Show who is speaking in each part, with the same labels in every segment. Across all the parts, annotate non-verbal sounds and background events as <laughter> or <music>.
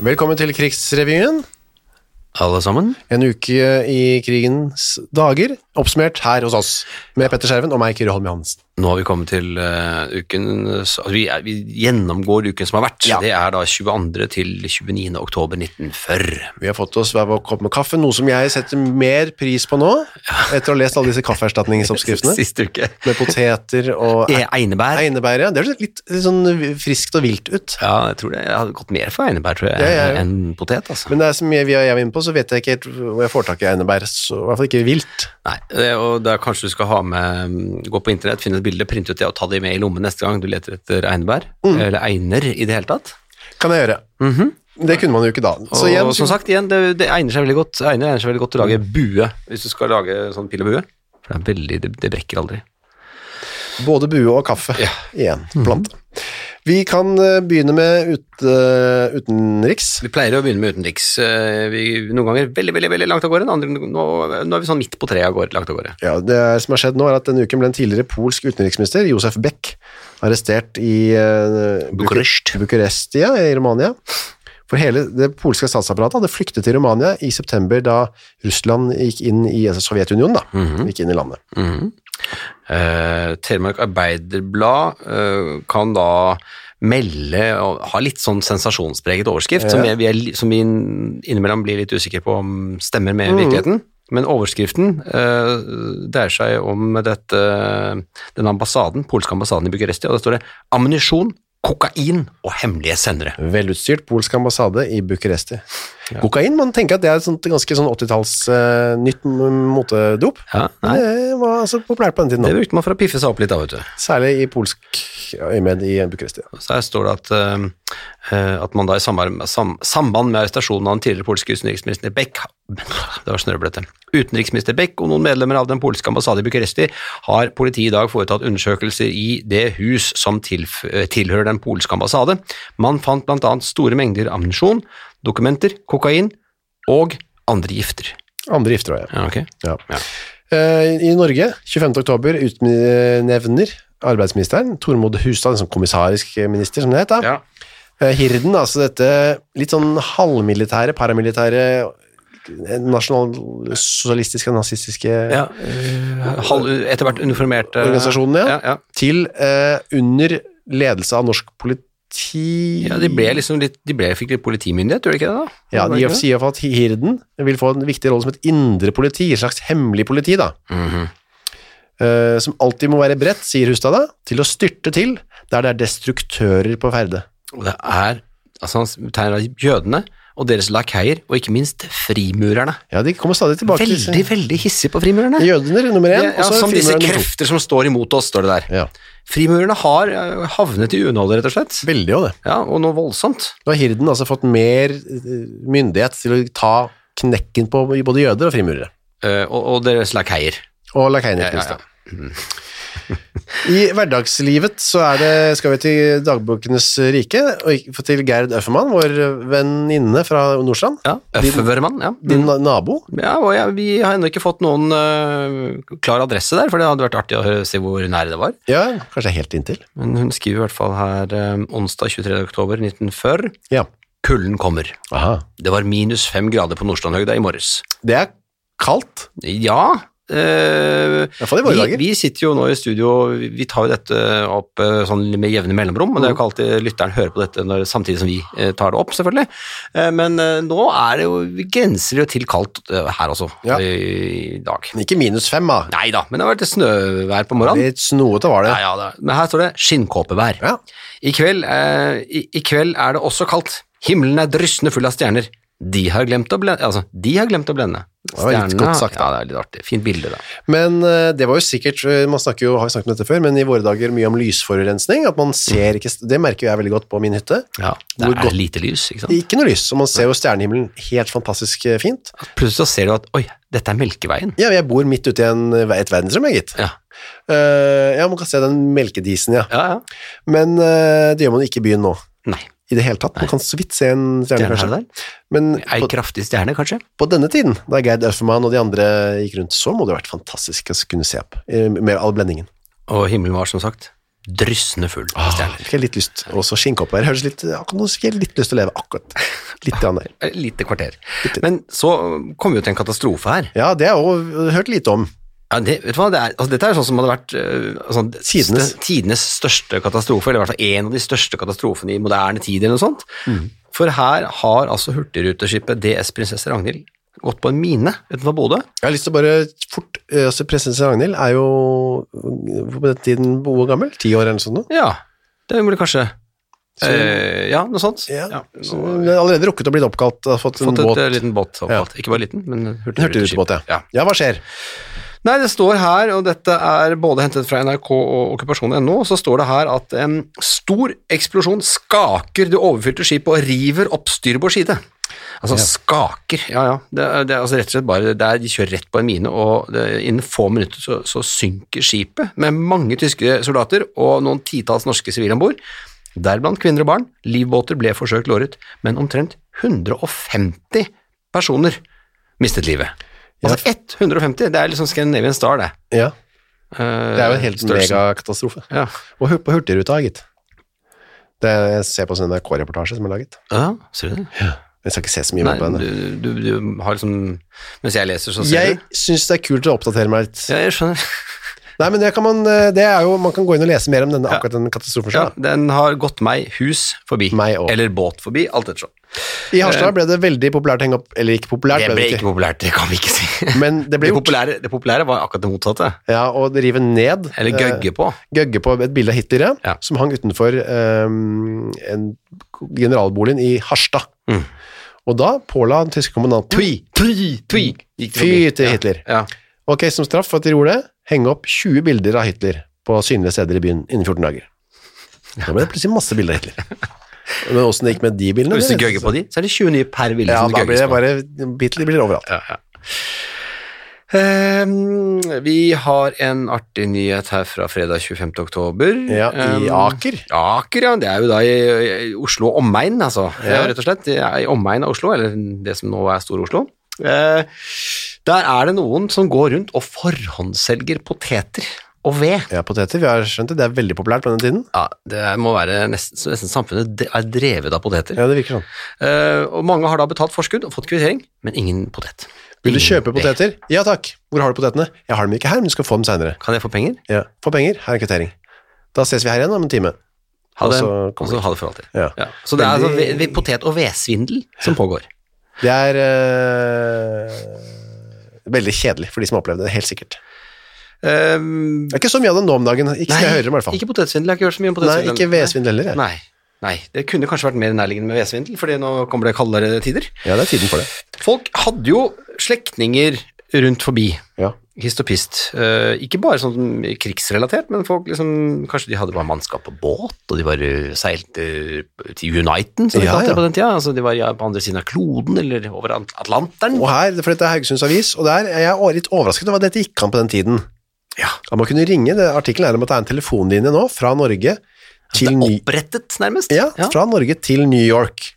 Speaker 1: Velkommen til Krigsrevyen.
Speaker 2: Alle sammen?
Speaker 1: En uke i krigens dager, oppsummert her hos oss, med Petter Skjerven og meg, Kyrre Holm Johansen.
Speaker 2: Nå har vi kommet til eh, uken så- vi, er, vi gjennomgår uken som har vært.
Speaker 1: Ja.
Speaker 2: Det er da 22. til 29. oktober 1940.
Speaker 1: Vi har fått oss hver vår kopp med kaffe, noe som jeg setter mer pris på nå, etter å ha lest alle disse
Speaker 2: <laughs>
Speaker 1: kaffeerstatningsoppskriftene,
Speaker 2: Siste uke.
Speaker 1: med poteter og
Speaker 2: E- Einebær.
Speaker 1: einebær. ja. Det høres litt, litt sånn friskt og vilt ut.
Speaker 2: Ja, jeg tror det. Jeg hadde gått mer for einebær, tror jeg,
Speaker 1: Ja, ja, ja.
Speaker 2: enn potet, altså.
Speaker 1: Men det er så mye vi og jeg er inne på, så vet jeg ikke helt hvor jeg får tak i einebær. Så, I hvert fall ikke vilt.
Speaker 2: Nei, det- og da kanskje du skal ha med mm, Gå på internett, finne et bilde, printe ut det og ta det med i lommen neste gang du leter etter einebær.
Speaker 1: Mm.
Speaker 2: Eller einer i det hele tatt.
Speaker 1: Kan jeg gjøre. Det kunne man jo ikke da. Så
Speaker 2: Og
Speaker 1: igjen, Mm.
Speaker 2: som sagt, igjen, det, det egner seg veldig godt Egner egner seg veldig godt til å lage bue hvis du skal lage sånn pil og bue. For det er veldig, det, det brekker aldri.
Speaker 1: både bue og kaffe
Speaker 2: Ja.
Speaker 1: igjen. Plante. Vi kan eh, begynne med ut, eh, utenriks.
Speaker 2: Vi pleier å begynne med utenriks. eh, Vi, noen ganger veldig veldig, veldig langt av gårde, andre, nå, nå er vi sånn midt på treet av gårde, langt av gårde.
Speaker 1: Ja, det som har skjedd nå er at Denne uken ble en tidligere polsk utenriksminister, Josef Beck, arrestert i eh, Buk-
Speaker 2: Bucuresti.
Speaker 1: Bucurestia i Romania. For hele det polske statsapparatet hadde flyktet til Romania i september da Russland gikk inn i altså Sovjetunionen. da, gikk inn i landet.
Speaker 2: Eh, Telemark Arbeiderblad eh, kan da melde og ha litt sånn sensasjonspreget overskrift, som, vi, vi er, li- som vi inn- innimellom blir litt usikre på om stemmer med virkeligheten. Men overskriften eh, dreier seg om dette, den ambassaden, polske ambassaden i Bucuresti, og der står det 'ammunisjon, kokain og hemmelige sendere'.
Speaker 1: Velutstyrt polsk ambassade i Bucuresti. Kokain, man tenker at det er et sånt, ganske sånn 80-talls eh, nytt m- motedop.
Speaker 2: Ja, nei,
Speaker 1: Det var altså populært på den tiden,
Speaker 2: det
Speaker 1: da.
Speaker 2: brukte man for å piffe seg opp litt, da, vet du.
Speaker 1: særlig i polsk øyemed i Bucuresti.
Speaker 2: Så her står det at, eh, eh, at man da i samarbeid, sam, samband med arrestasjonen av den tidligere polske utenriksminister Beck <laughs> det var snørrbløtte. Utenriksminister Beck og noen medlemmer av den polske ambassaden i Bucuresti har politiet i dag foretatt undersøkelser i det hus som tilf, eh, tilhører den polske ambassade. Man fant bl.a. store mengder ammunisjon, dokumenter, kokain og andre gifter.
Speaker 1: Andre gifter også, ja.
Speaker 2: Ja, ok.
Speaker 1: Ja.
Speaker 2: Ja.
Speaker 1: Eh, I Norge, 25. oktober, utnevner arbeidsministeren Tormod Hustad, en sånn kommissarisk minister, som det heter.
Speaker 2: Ja.
Speaker 1: Eh, Hirden, altså dette litt sånn halvmilitære, paramilitære, nasjonalsosialistiske, nazistiske
Speaker 2: Ja, eh, halv, etter hvert uniformerte
Speaker 1: Organisasjonen, ja.
Speaker 2: ja, ja.
Speaker 1: til eh, under ledelse av norsk politi.
Speaker 2: Ja, de ble liksom litt, de ble, fikk litt politimyndighet, gjorde de ikke det da?
Speaker 1: Ja,
Speaker 2: Var
Speaker 1: de
Speaker 2: det ikke det?
Speaker 1: sier i hvert fall at Hirden vil få en viktig rolle som et indre politi, et slags hemmelig politi, da.
Speaker 2: Mhm.
Speaker 1: Eh, som alltid må være bredt, sier Hustad da, til å styrte til der det er destruktører på ferde.
Speaker 2: Og det er altså han tegner da jødene og deres lakeier, og ikke minst frimurerne.
Speaker 1: Ja, de kommer stadig tilbake
Speaker 2: Veldig,
Speaker 1: til
Speaker 2: veldig hissig på frimurerne.
Speaker 1: jødene, nummer én,
Speaker 2: Ja, ja,
Speaker 1: og så
Speaker 2: som disse
Speaker 1: frimurerne nummer to.
Speaker 2: krefter som står imot oss, står det der.
Speaker 1: Ja,
Speaker 2: Frimurerne har eh, havnet i unåde, rett og slett.
Speaker 1: veldig jo det.
Speaker 2: Ja, og noe voldsomt.
Speaker 1: Nå har Hirden altså fått mer eh, myndighet til å ta knekken på både jøder og frimurere.
Speaker 2: Eh, og, og deres lakeier.
Speaker 1: Og lakeiner, ikke
Speaker 2: Ja,
Speaker 1: minst.
Speaker 2: ja,
Speaker 1: da. I hverdagslivet så er det, skal vi til dagbokenes rike, og ikke- til Gerd Øffermann, vår venninne fra Nordstrand,
Speaker 2: ja. ja Øfvermann, ja.
Speaker 1: din na- nabo.
Speaker 2: Ja, og jeg, vi har ennå ikke fått noen eh, klar adresse der, for det hadde vært artig å høre- se hvor nære det var.
Speaker 1: Ja, kanskje helt inntil.
Speaker 2: Men hun skriver i hvert fall her eh, onsdag 23. oktober 1940.
Speaker 1: Ja.
Speaker 2: Kulden kommer.
Speaker 1: Aha.
Speaker 2: Det var minus fem grader på Nordstrandhøgda i morges.
Speaker 1: Det er kaldt,
Speaker 2: Ja eh,
Speaker 1: i hvert fall i våre
Speaker 2: vi,
Speaker 1: dager.
Speaker 2: vi sitter jo nå i studio, vi vi tar jo dette opp eh, sånn med jevne mellomrom, og det er jo ikke alltid lytteren hører på dette når, samtidig som vi eh, tar det opp, selvfølgelig. Eh, Men eh, nå er det jo, vi grenser jo til kaldt eh, her også,
Speaker 1: Ja.
Speaker 2: eh, i dag.
Speaker 1: Ikke minus fem, da.
Speaker 2: Nei da, men det har vært et snøvær på morgenen.
Speaker 1: Litt snoete var
Speaker 2: Ja,
Speaker 1: det.
Speaker 2: ja, det er- men her står det skinnkåpevær.
Speaker 1: Ja.
Speaker 2: I, kveld, eh, i, I kveld er det også kaldt. Himmelen er dryssende full av stjerner. De har glemt å blende. Altså, de har glemt å blende.
Speaker 1: var litt godt sagt,
Speaker 2: ja, det er litt artig. Fint bilde, da.
Speaker 1: Men eh, det var jo sikkert, eh, man snakker jo, har jo snakket om dette før, men i våre dager mye om lysforurensning, at man
Speaker 2: Mm.
Speaker 1: ser ikke, det merker jo jeg veldig godt på min hytte.
Speaker 2: Ja,
Speaker 1: Hvor
Speaker 2: det er
Speaker 1: godt-
Speaker 2: lite lys, ikke sant.
Speaker 1: Ikke noe lys, så man ser jo stjernehimmelen helt fantastisk eh, fint.
Speaker 2: Plutselig så ser du at oi, dette er Melkeveien.
Speaker 1: Ja, jeg bor midt ute i en, eh, et verdensrom, jeg gitt.
Speaker 2: Ja,
Speaker 1: Eh, ja, man kan se den melkedisen, ja.
Speaker 2: ja. ja.
Speaker 1: Men eh, det gjør man jo ikke i byen nå,
Speaker 2: Nei.
Speaker 1: i det hele tatt. Man kan så vidt se en stjerne,
Speaker 2: Stjerne her
Speaker 1: kanskje.
Speaker 2: og der.
Speaker 1: Men
Speaker 2: Ei
Speaker 1: på,
Speaker 2: kraftig stjerne, kanskje.
Speaker 1: på denne tiden, da Geir Øffermann og de andre gikk rundt, så må det ha vært fantastisk å kunne se opp, eh, med all blendingen.
Speaker 2: Og himmelen var som sagt dryssende full av
Speaker 1: Jeg
Speaker 2: stjerner.
Speaker 1: fikk jeg litt lyst, og så skinnkopper. Jeg høres litt, akkurat nå fikk jeg litt lyst til å leve,
Speaker 2: <laughs>
Speaker 1: akkurat. Litt grann der.
Speaker 2: Et lite kvarter. Men så kom vi jo til en katastrofe her.
Speaker 1: Ja, det har jeg også hørt lite om.
Speaker 2: Ja, det, vet du hva, det er, altså, dette er jo sånn som hadde vært øh, altså,
Speaker 1: Tidenes.
Speaker 2: stø- tidenes største katastrofe, eller i hvert fall en av de største katastrofene i moderne tid, eller noe sånt.
Speaker 1: Mm.
Speaker 2: For her har altså hurtigruteskipet DS Prinsesse Ragnhild gått på en mine utenfor Bodø.
Speaker 1: Jeg har lyst til å bare fort, eh, altså prinsesse Ragnhild er jo eh, på den tiden bo og gammel, 10 år eller noe sånt nå.
Speaker 2: Ja, det burde kanskje Eh, Ja, noe sånt.
Speaker 1: Ja, så
Speaker 2: nå-
Speaker 1: det har allerede rukket å bli oppkalt, har fått,
Speaker 2: Fått
Speaker 1: en
Speaker 2: et
Speaker 1: båt.
Speaker 2: eh, liten båt oppkalt. Ikke bare liten, men hurtigruteskip.
Speaker 1: Hurtigrutebåt,
Speaker 2: Ja.
Speaker 1: Ja, hva skjer?
Speaker 2: Nei, det står her, og dette er både hentet fra NRK og okkupasjon.no, så står det her at en stor eksplosjon skaker det overfylte skipet og river opp styrbord side. Altså skaker, ja ja. Det, er- det er altså rett og slett bare det er, De kjører rett på en mine, og det, innen få minutter så, så synker skipet med mange tyske soldater og noen titalls norske sivile om bord. Deriblant kvinner og barn. Livbåter ble forsøkt låret, men omtrent 150 personer mistet livet. Altså 150, det er liksom Scandinavian Star, det.
Speaker 1: Ja,
Speaker 2: Eh,
Speaker 1: det er jo en helt
Speaker 2: størrelsen.
Speaker 1: megakatastrofe.
Speaker 2: Ja.
Speaker 1: Og hu- på hurtigruta, gitt. Det jeg ser på sånn NRK-reportasje som er laget.
Speaker 2: ja, ser du det?
Speaker 1: Jeg skal ikke se så mye
Speaker 2: Nei,
Speaker 1: mer på henne.
Speaker 2: du, du, du har liksom Mens jeg leser, så ser
Speaker 1: Jeg
Speaker 2: du.
Speaker 1: synes det er kult å oppdatere meg litt.
Speaker 2: Ja, jeg skjønner.
Speaker 1: <laughs> Nei, men det kan man, eh, det er jo, man kan gå inn og lese mer om denne,
Speaker 2: Ja.
Speaker 1: akkurat den katastrofen.
Speaker 2: Ja,
Speaker 1: selv, da.
Speaker 2: den har gått meg hus forbi.
Speaker 1: Meg også.
Speaker 2: Eller båt forbi, alt ettersom.
Speaker 1: I Harstad ble det veldig populært å henge opp, eller ikke populært,
Speaker 2: Eh. Det
Speaker 1: ble
Speaker 2: ble
Speaker 1: det
Speaker 2: ikke populært, det kan vi ikke si. <laughs>
Speaker 1: ikke. Men det ble
Speaker 2: Det
Speaker 1: gjort.
Speaker 2: populære, det populære var akkurat det motsatte.
Speaker 1: Ja, og det river ned.
Speaker 2: Eller
Speaker 1: eh,
Speaker 2: gøgge på.
Speaker 1: Gøgge på et bilde av Hitler, ja,
Speaker 2: Ja.
Speaker 1: som hang utenfor ehm, en generalboligen i Harstad.
Speaker 2: Mm.
Speaker 1: Og da påla den tyske kommandanten
Speaker 2: Tui, tui, tui! gikk det
Speaker 1: Fy
Speaker 2: forbi.
Speaker 1: til Hitler.
Speaker 2: Ja.
Speaker 1: Ok, som straff for at de gjorde det, henge opp 20 bilder av Hitler på synlige steder i byen innen 14 dager. Da ble det plutselig masse bilder
Speaker 2: <laughs>
Speaker 1: av Hitler. Men åssen det gikk med de
Speaker 2: Og
Speaker 1: bildene
Speaker 2: Hvis du
Speaker 1: det vet jeg
Speaker 2: gøgger på de, så er det 20 nye per ville
Speaker 1: Ja,
Speaker 2: som
Speaker 1: da
Speaker 2: det
Speaker 1: blir
Speaker 2: gøgges
Speaker 1: det
Speaker 2: på.
Speaker 1: bare Hitler blir overalt.
Speaker 2: ja, ja. Ehm, vi har en artig nyhet her fra fredag 25. oktober.
Speaker 1: Ja, I
Speaker 2: Ehm,
Speaker 1: Aker.
Speaker 2: Aker, ja. Det er jo da i, i Oslo og omegn, altså.
Speaker 1: Ja.
Speaker 2: Ja. Rett og slett. Det er I omegn av Oslo, eller det som nå er Stor-Oslo. Eh, der er det noen som går rundt og forhåndsselger poteter og ved.
Speaker 1: Ja, poteter. Vi har skjønt det. Det er veldig populært på denne tiden.
Speaker 2: Ja, Det må være nesten, så nesten samfunnet de- er drevet av poteter.
Speaker 1: Ja, det virker sånn.
Speaker 2: Eh, og mange har da betalt forskudd og fått kvittering, men ingen potet.
Speaker 1: Vil du
Speaker 2: Ingen
Speaker 1: kjøpe
Speaker 2: ved.
Speaker 1: poteter? Ja takk. Hvor har du potetene? Jeg har dem ikke her, men du skal få dem seinere.
Speaker 2: Kan jeg få penger?
Speaker 1: Ja. Få penger, her er en kvittering. Da ses vi her igjen om en time.
Speaker 2: Ha
Speaker 1: Og
Speaker 2: det,
Speaker 1: så
Speaker 2: og
Speaker 1: kommer
Speaker 2: så ha det for alltid.
Speaker 1: Ja.
Speaker 2: Ja. Så det er
Speaker 1: Veldig-
Speaker 2: altså ve- ve- potet- og vedsvindel som pågår.
Speaker 1: Det er eh, veldig kjedelig for de som har opplevd det, helt sikkert.
Speaker 2: Ehm,
Speaker 1: Det er ikke så mye av det nå om dagen. Ikke som jeg hører om, i hvert fall.
Speaker 2: ikke potetsvindel. Jeg har ikke hørt så mye om
Speaker 1: Nei,
Speaker 2: potetsvindel.
Speaker 1: ikke vedsvindel heller. jeg.
Speaker 2: Nei. Nei, det kunne kanskje vært mer nærliggende med vedsvindel, fordi nå kommer det kaldere tider.
Speaker 1: Ja, det er tiden for det.
Speaker 2: Folk hadde jo slektninger rundt forbi,
Speaker 1: Ja.
Speaker 2: hist og pist. Eh, ikke bare sånn krigsrelatert, men folk liksom, kanskje de hadde bare mannskap på båt, og de bare seilte til Uniten, som de
Speaker 1: Ja, ja.
Speaker 2: kalte det på den tida. Altså, de var ja, på andre siden av kloden, eller over At- Atlanteren.
Speaker 1: Og her, for dette er Haugesunds Avis, og der er jeg litt overrasket over at dette gikk an på den tiden.
Speaker 2: Ja.
Speaker 1: At man kunne ringe, det artikkelen er om at det er en telefonlinje nå, fra Norge til Ny...
Speaker 2: Opprettet, nærmest.
Speaker 1: Ja, fra Norge til New York.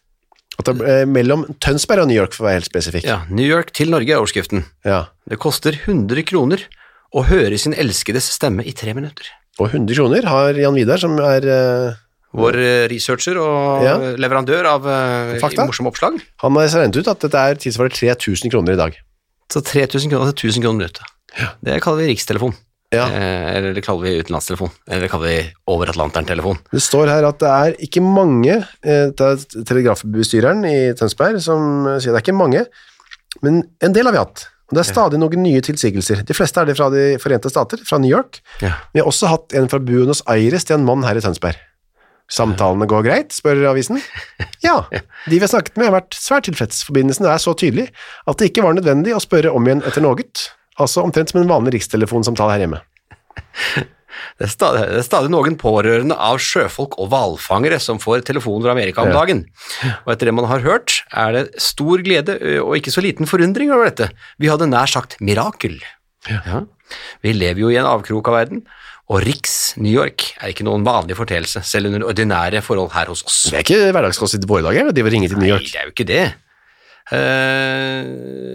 Speaker 1: At det, eh, mellom Tønsberg og New York, for å være helt spesifikk.
Speaker 2: Ja, New York til Norge er overskriften.
Speaker 1: Ja.
Speaker 2: Det koster 100 kroner å høre sin elskedes stemme i tre minutter.
Speaker 1: Og 100 kroner har Jan Vidar, som er eh,
Speaker 2: Vår eh, researcher og
Speaker 1: Ja.
Speaker 2: eh, leverandør av eh,
Speaker 1: Fakta.
Speaker 2: morsomme oppslag.
Speaker 1: Han har regnet ut at dette er tilsvarer 3000 kroner i dag.
Speaker 2: Så 3000 kroner, altså 1000 kroner minuttet. Det kaller vi rikstelefon.
Speaker 1: Ja.
Speaker 2: Eh, eller det kaller vi utenlandstelefon. Eller det kaller vi over Atlanteren-telefon.
Speaker 1: Det står her at det er ikke mange, eh, det er telegrafbestyreren i Tønsberg som eh, sier det er ikke mange, men en del har vi hatt. Og det er stadig noen nye tilsigelser. De fleste er det fra de forente stater, fra New York.
Speaker 2: Ja.
Speaker 1: Vi har også hatt en fra Buenos Aires til en mann her i Tønsberg. Samtalene går greit, spør avisen. Ja, de vi har snakket med har vært svært tilfreds. Forbindelsen er så tydelig at det ikke var nødvendig å spørre om igjen etter noe, altså omtrent som en vanlig rikstelefonsamtale her hjemme.
Speaker 2: Det er, stadig, det er stadig noen pårørende av sjøfolk og hvalfangere som får telefoner fra Amerika om
Speaker 1: Ja.
Speaker 2: dagen. Og etter det man har hørt, er det stor glede ø, og ikke så liten forundring over dette. Vi hadde nær sagt mirakel. Ja. Vi lever jo i en avkrok av verden, og Riks New York er ikke noen vanlig forteelse, selv under ordinære forhold her hos oss.
Speaker 1: Det er ikke hverdagskost i våre dager, de vil ringe til New
Speaker 2: Nei,
Speaker 1: York.
Speaker 2: det er jo ikke det. Eh,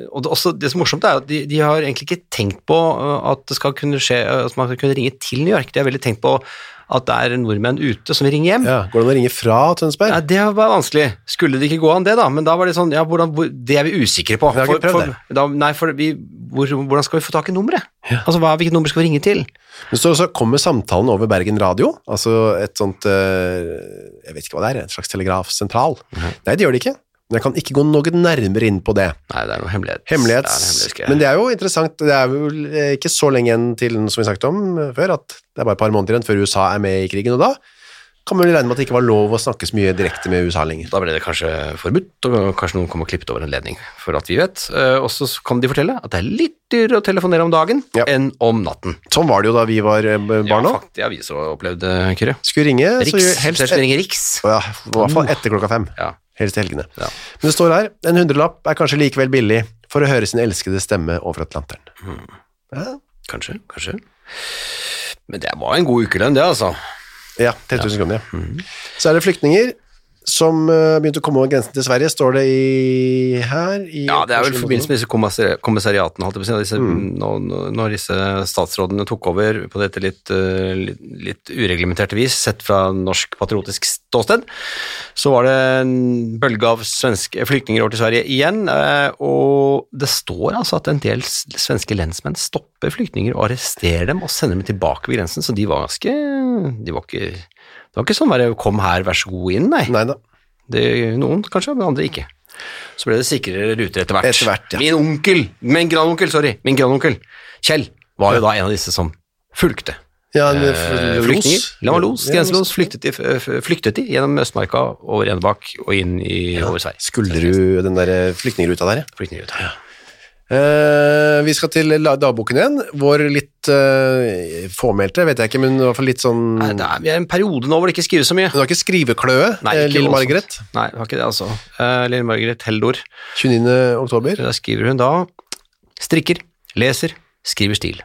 Speaker 2: og det, er også, det som er morsomt, er at de, de har egentlig ikke tenkt på eh, at det skal kunne skje, eh, at man skal kunne ringe til New York. De har veldig tenkt på at det er nordmenn ute som ringer hjem.
Speaker 1: Ja, går det an å ringe fra Tønsberg?
Speaker 2: Nei, det var vanskelig. Skulle det ikke gå an, det, da? Men da var det sånn, ja, hvordan, hvor, det er vi usikre på.
Speaker 1: Vi har ikke prøvd
Speaker 2: for, da, nei, for vi, hvor, hvordan skal vi få tak i nummeret? Altså, hva, Hvilket nummer skal vi ringe til?
Speaker 1: Men så, så kommer samtalen over Bergen Radio, altså et sånt, eh, jeg vet ikke hva det er, et slags telegrafsentral. Nei, det gjør det ikke. Men jeg kan ikke gå noe nærmere inn på det.
Speaker 2: Nei, det er noe hemmelighet. Det er en
Speaker 1: Hemmelighets...
Speaker 2: hemmelighetsgreie.
Speaker 1: Men det er jo interessant, det er vel eh, ikke så lenge igjen til, som vi snakket om eh, før, at det er bare et par måneder igjen før USA er med i krigen, og da kan man jo regne med at det ikke var lov å snakke så mye direkte med USA lenger.
Speaker 2: Da ble det kanskje forbudt, og kanskje noen kom og klippet over en ledning, for at vi vet. Eh, Og så kan de fortelle at det er litt dyrere å telefonere om dagen
Speaker 1: Ja.
Speaker 2: enn om natten.
Speaker 1: Sånn var det jo da vi var eh, barn
Speaker 2: Ja,
Speaker 1: òg.
Speaker 2: faktisk, vi så opplevde, Kyrre.
Speaker 1: Skulle ringe, så
Speaker 2: Riks,
Speaker 1: gjør
Speaker 2: helst
Speaker 1: helst
Speaker 2: skal ringe Riks.
Speaker 1: Å ja, i hvert fall etter klokka fem.
Speaker 2: Ja.
Speaker 1: Helst i helgene.
Speaker 2: Ja.
Speaker 1: Men det står her, en hundrelapp er kanskje likevel billig for å høre sin elskede stemme over Atlanteren.
Speaker 2: Hmm. Kanskje, kanskje. Men det var en god ukelønn, det, altså.
Speaker 1: Ja, 3000 kroner, ja.
Speaker 2: Mhm.
Speaker 1: Så er det flyktninger som eh, begynte å komme over grensen til Sverige, står det i her. I
Speaker 2: Ja, det er vel i forbindelse med disse kommissari- kommissariatene, holdt jeg på å si, disse, nå- nå- når disse statsrådene tok over på dette litt, eh, litt, litt ureglementerte vis, sett fra norsk patriotisk ståsted, så var det en bølge av svenske flyktninger over til Sverige igjen, eh, og det står altså at en del s- svenske lensmenn stopper flyktninger og arresterer dem og sender dem tilbake ved grensen, så de var ganske, de var ikke, det var ikke sånn bare kom her, vær så god inn, nei.
Speaker 1: Nei da.
Speaker 2: Det, noen kanskje, men andre ikke. Så ble det sikrere ruter etter hvert.
Speaker 1: Etter hvert, ja.
Speaker 2: Min onkel, min grandonkel, sorry, min grandonkel, Kjell, var jo da en av disse som fulgte.
Speaker 1: Ja, en,
Speaker 2: Eh,
Speaker 1: los.
Speaker 2: flyktninger. La meg los,
Speaker 1: Ja,
Speaker 2: grenselos, flyktet de, f- flyktet de gjennom Østmarka, over Enebakk og inn i, over Sverige.
Speaker 1: Skulderud, den der eh, flyktningruta der. ja.
Speaker 2: Flyktningruta.
Speaker 1: Eh, vi skal til la- dagboken igjen. Vår litt eh, fåmælte, vet jeg ikke, men i hvert fall litt sånn
Speaker 2: Nei,
Speaker 1: Hun
Speaker 2: det er, vi er i en periode nå hvor det ikke skrives så mye.
Speaker 1: har ikke skrivekløe,
Speaker 2: Nei,
Speaker 1: eh,
Speaker 2: ikke
Speaker 1: lille
Speaker 2: voldsomt.
Speaker 1: Margaret.
Speaker 2: Nei, det var ikke det, altså. Eh, Lille Margaret Heldor.
Speaker 1: 29. oktober.
Speaker 2: Da skriver hun da strikker, leser, skriver stil.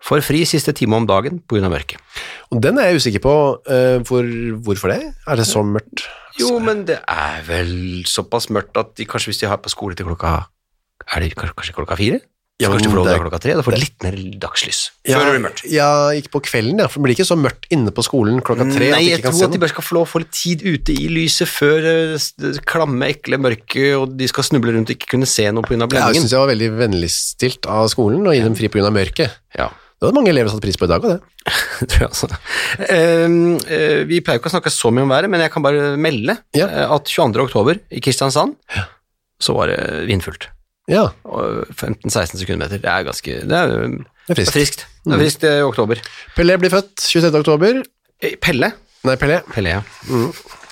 Speaker 2: Får fri siste time om dagen på grunn av mørket.
Speaker 1: Og den er jeg usikker på. eh, hvor, hvorfor det? Er det så mørkt?
Speaker 2: Jo, men det er vel såpass mørkt at de, kanskje hvis de har på skole til klokka Er det kanskje, kanskje klokka fire?
Speaker 1: Ja, men
Speaker 2: Så kanskje du får lov
Speaker 1: det
Speaker 2: til
Speaker 1: er-
Speaker 2: klokka tre? Da får du litt mer dagslys.
Speaker 1: Ja,
Speaker 2: Før det blir mørkt.
Speaker 1: Ja, ikke på kvelden, ja. For det blir ikke så mørkt inne på skolen klokka tre.
Speaker 2: Nei,
Speaker 1: at de
Speaker 2: jeg
Speaker 1: ikke kan
Speaker 2: tror
Speaker 1: se
Speaker 2: at de
Speaker 1: noe.
Speaker 2: bare skal få lov å få litt tid ute i lyset før eh, s- det klamme, ekle mørket, og de skal snuble rundt og ikke kunne se noe
Speaker 1: Ja,
Speaker 2: pga.
Speaker 1: jeg <laughs>
Speaker 2: blendingen.
Speaker 1: syns jeg var veldig vennligstilt av skolen å gi dem fri pga. mørket.
Speaker 2: Ja,
Speaker 1: Det hadde mange elever satt pris på i dag òg, det.
Speaker 2: det tror jeg altså. Ehm, eh, vi pleier jo ikke å snakke så mye om været, men jeg kan bare melde
Speaker 1: Ja.
Speaker 2: eh, at 22. oktober i Kristiansand så var det vindfullt.
Speaker 1: Ja,
Speaker 2: Og 15-16 sekundmeter. Det er ganske Det er eh,
Speaker 1: det er
Speaker 2: Det er
Speaker 1: friskt.
Speaker 2: friskt. Det er friskt eh, i oktober.
Speaker 1: Pelé blir født 23. oktober.
Speaker 2: Eh, Pelle. Mm.
Speaker 1: Nei, Pelé.
Speaker 2: Pelle, ja.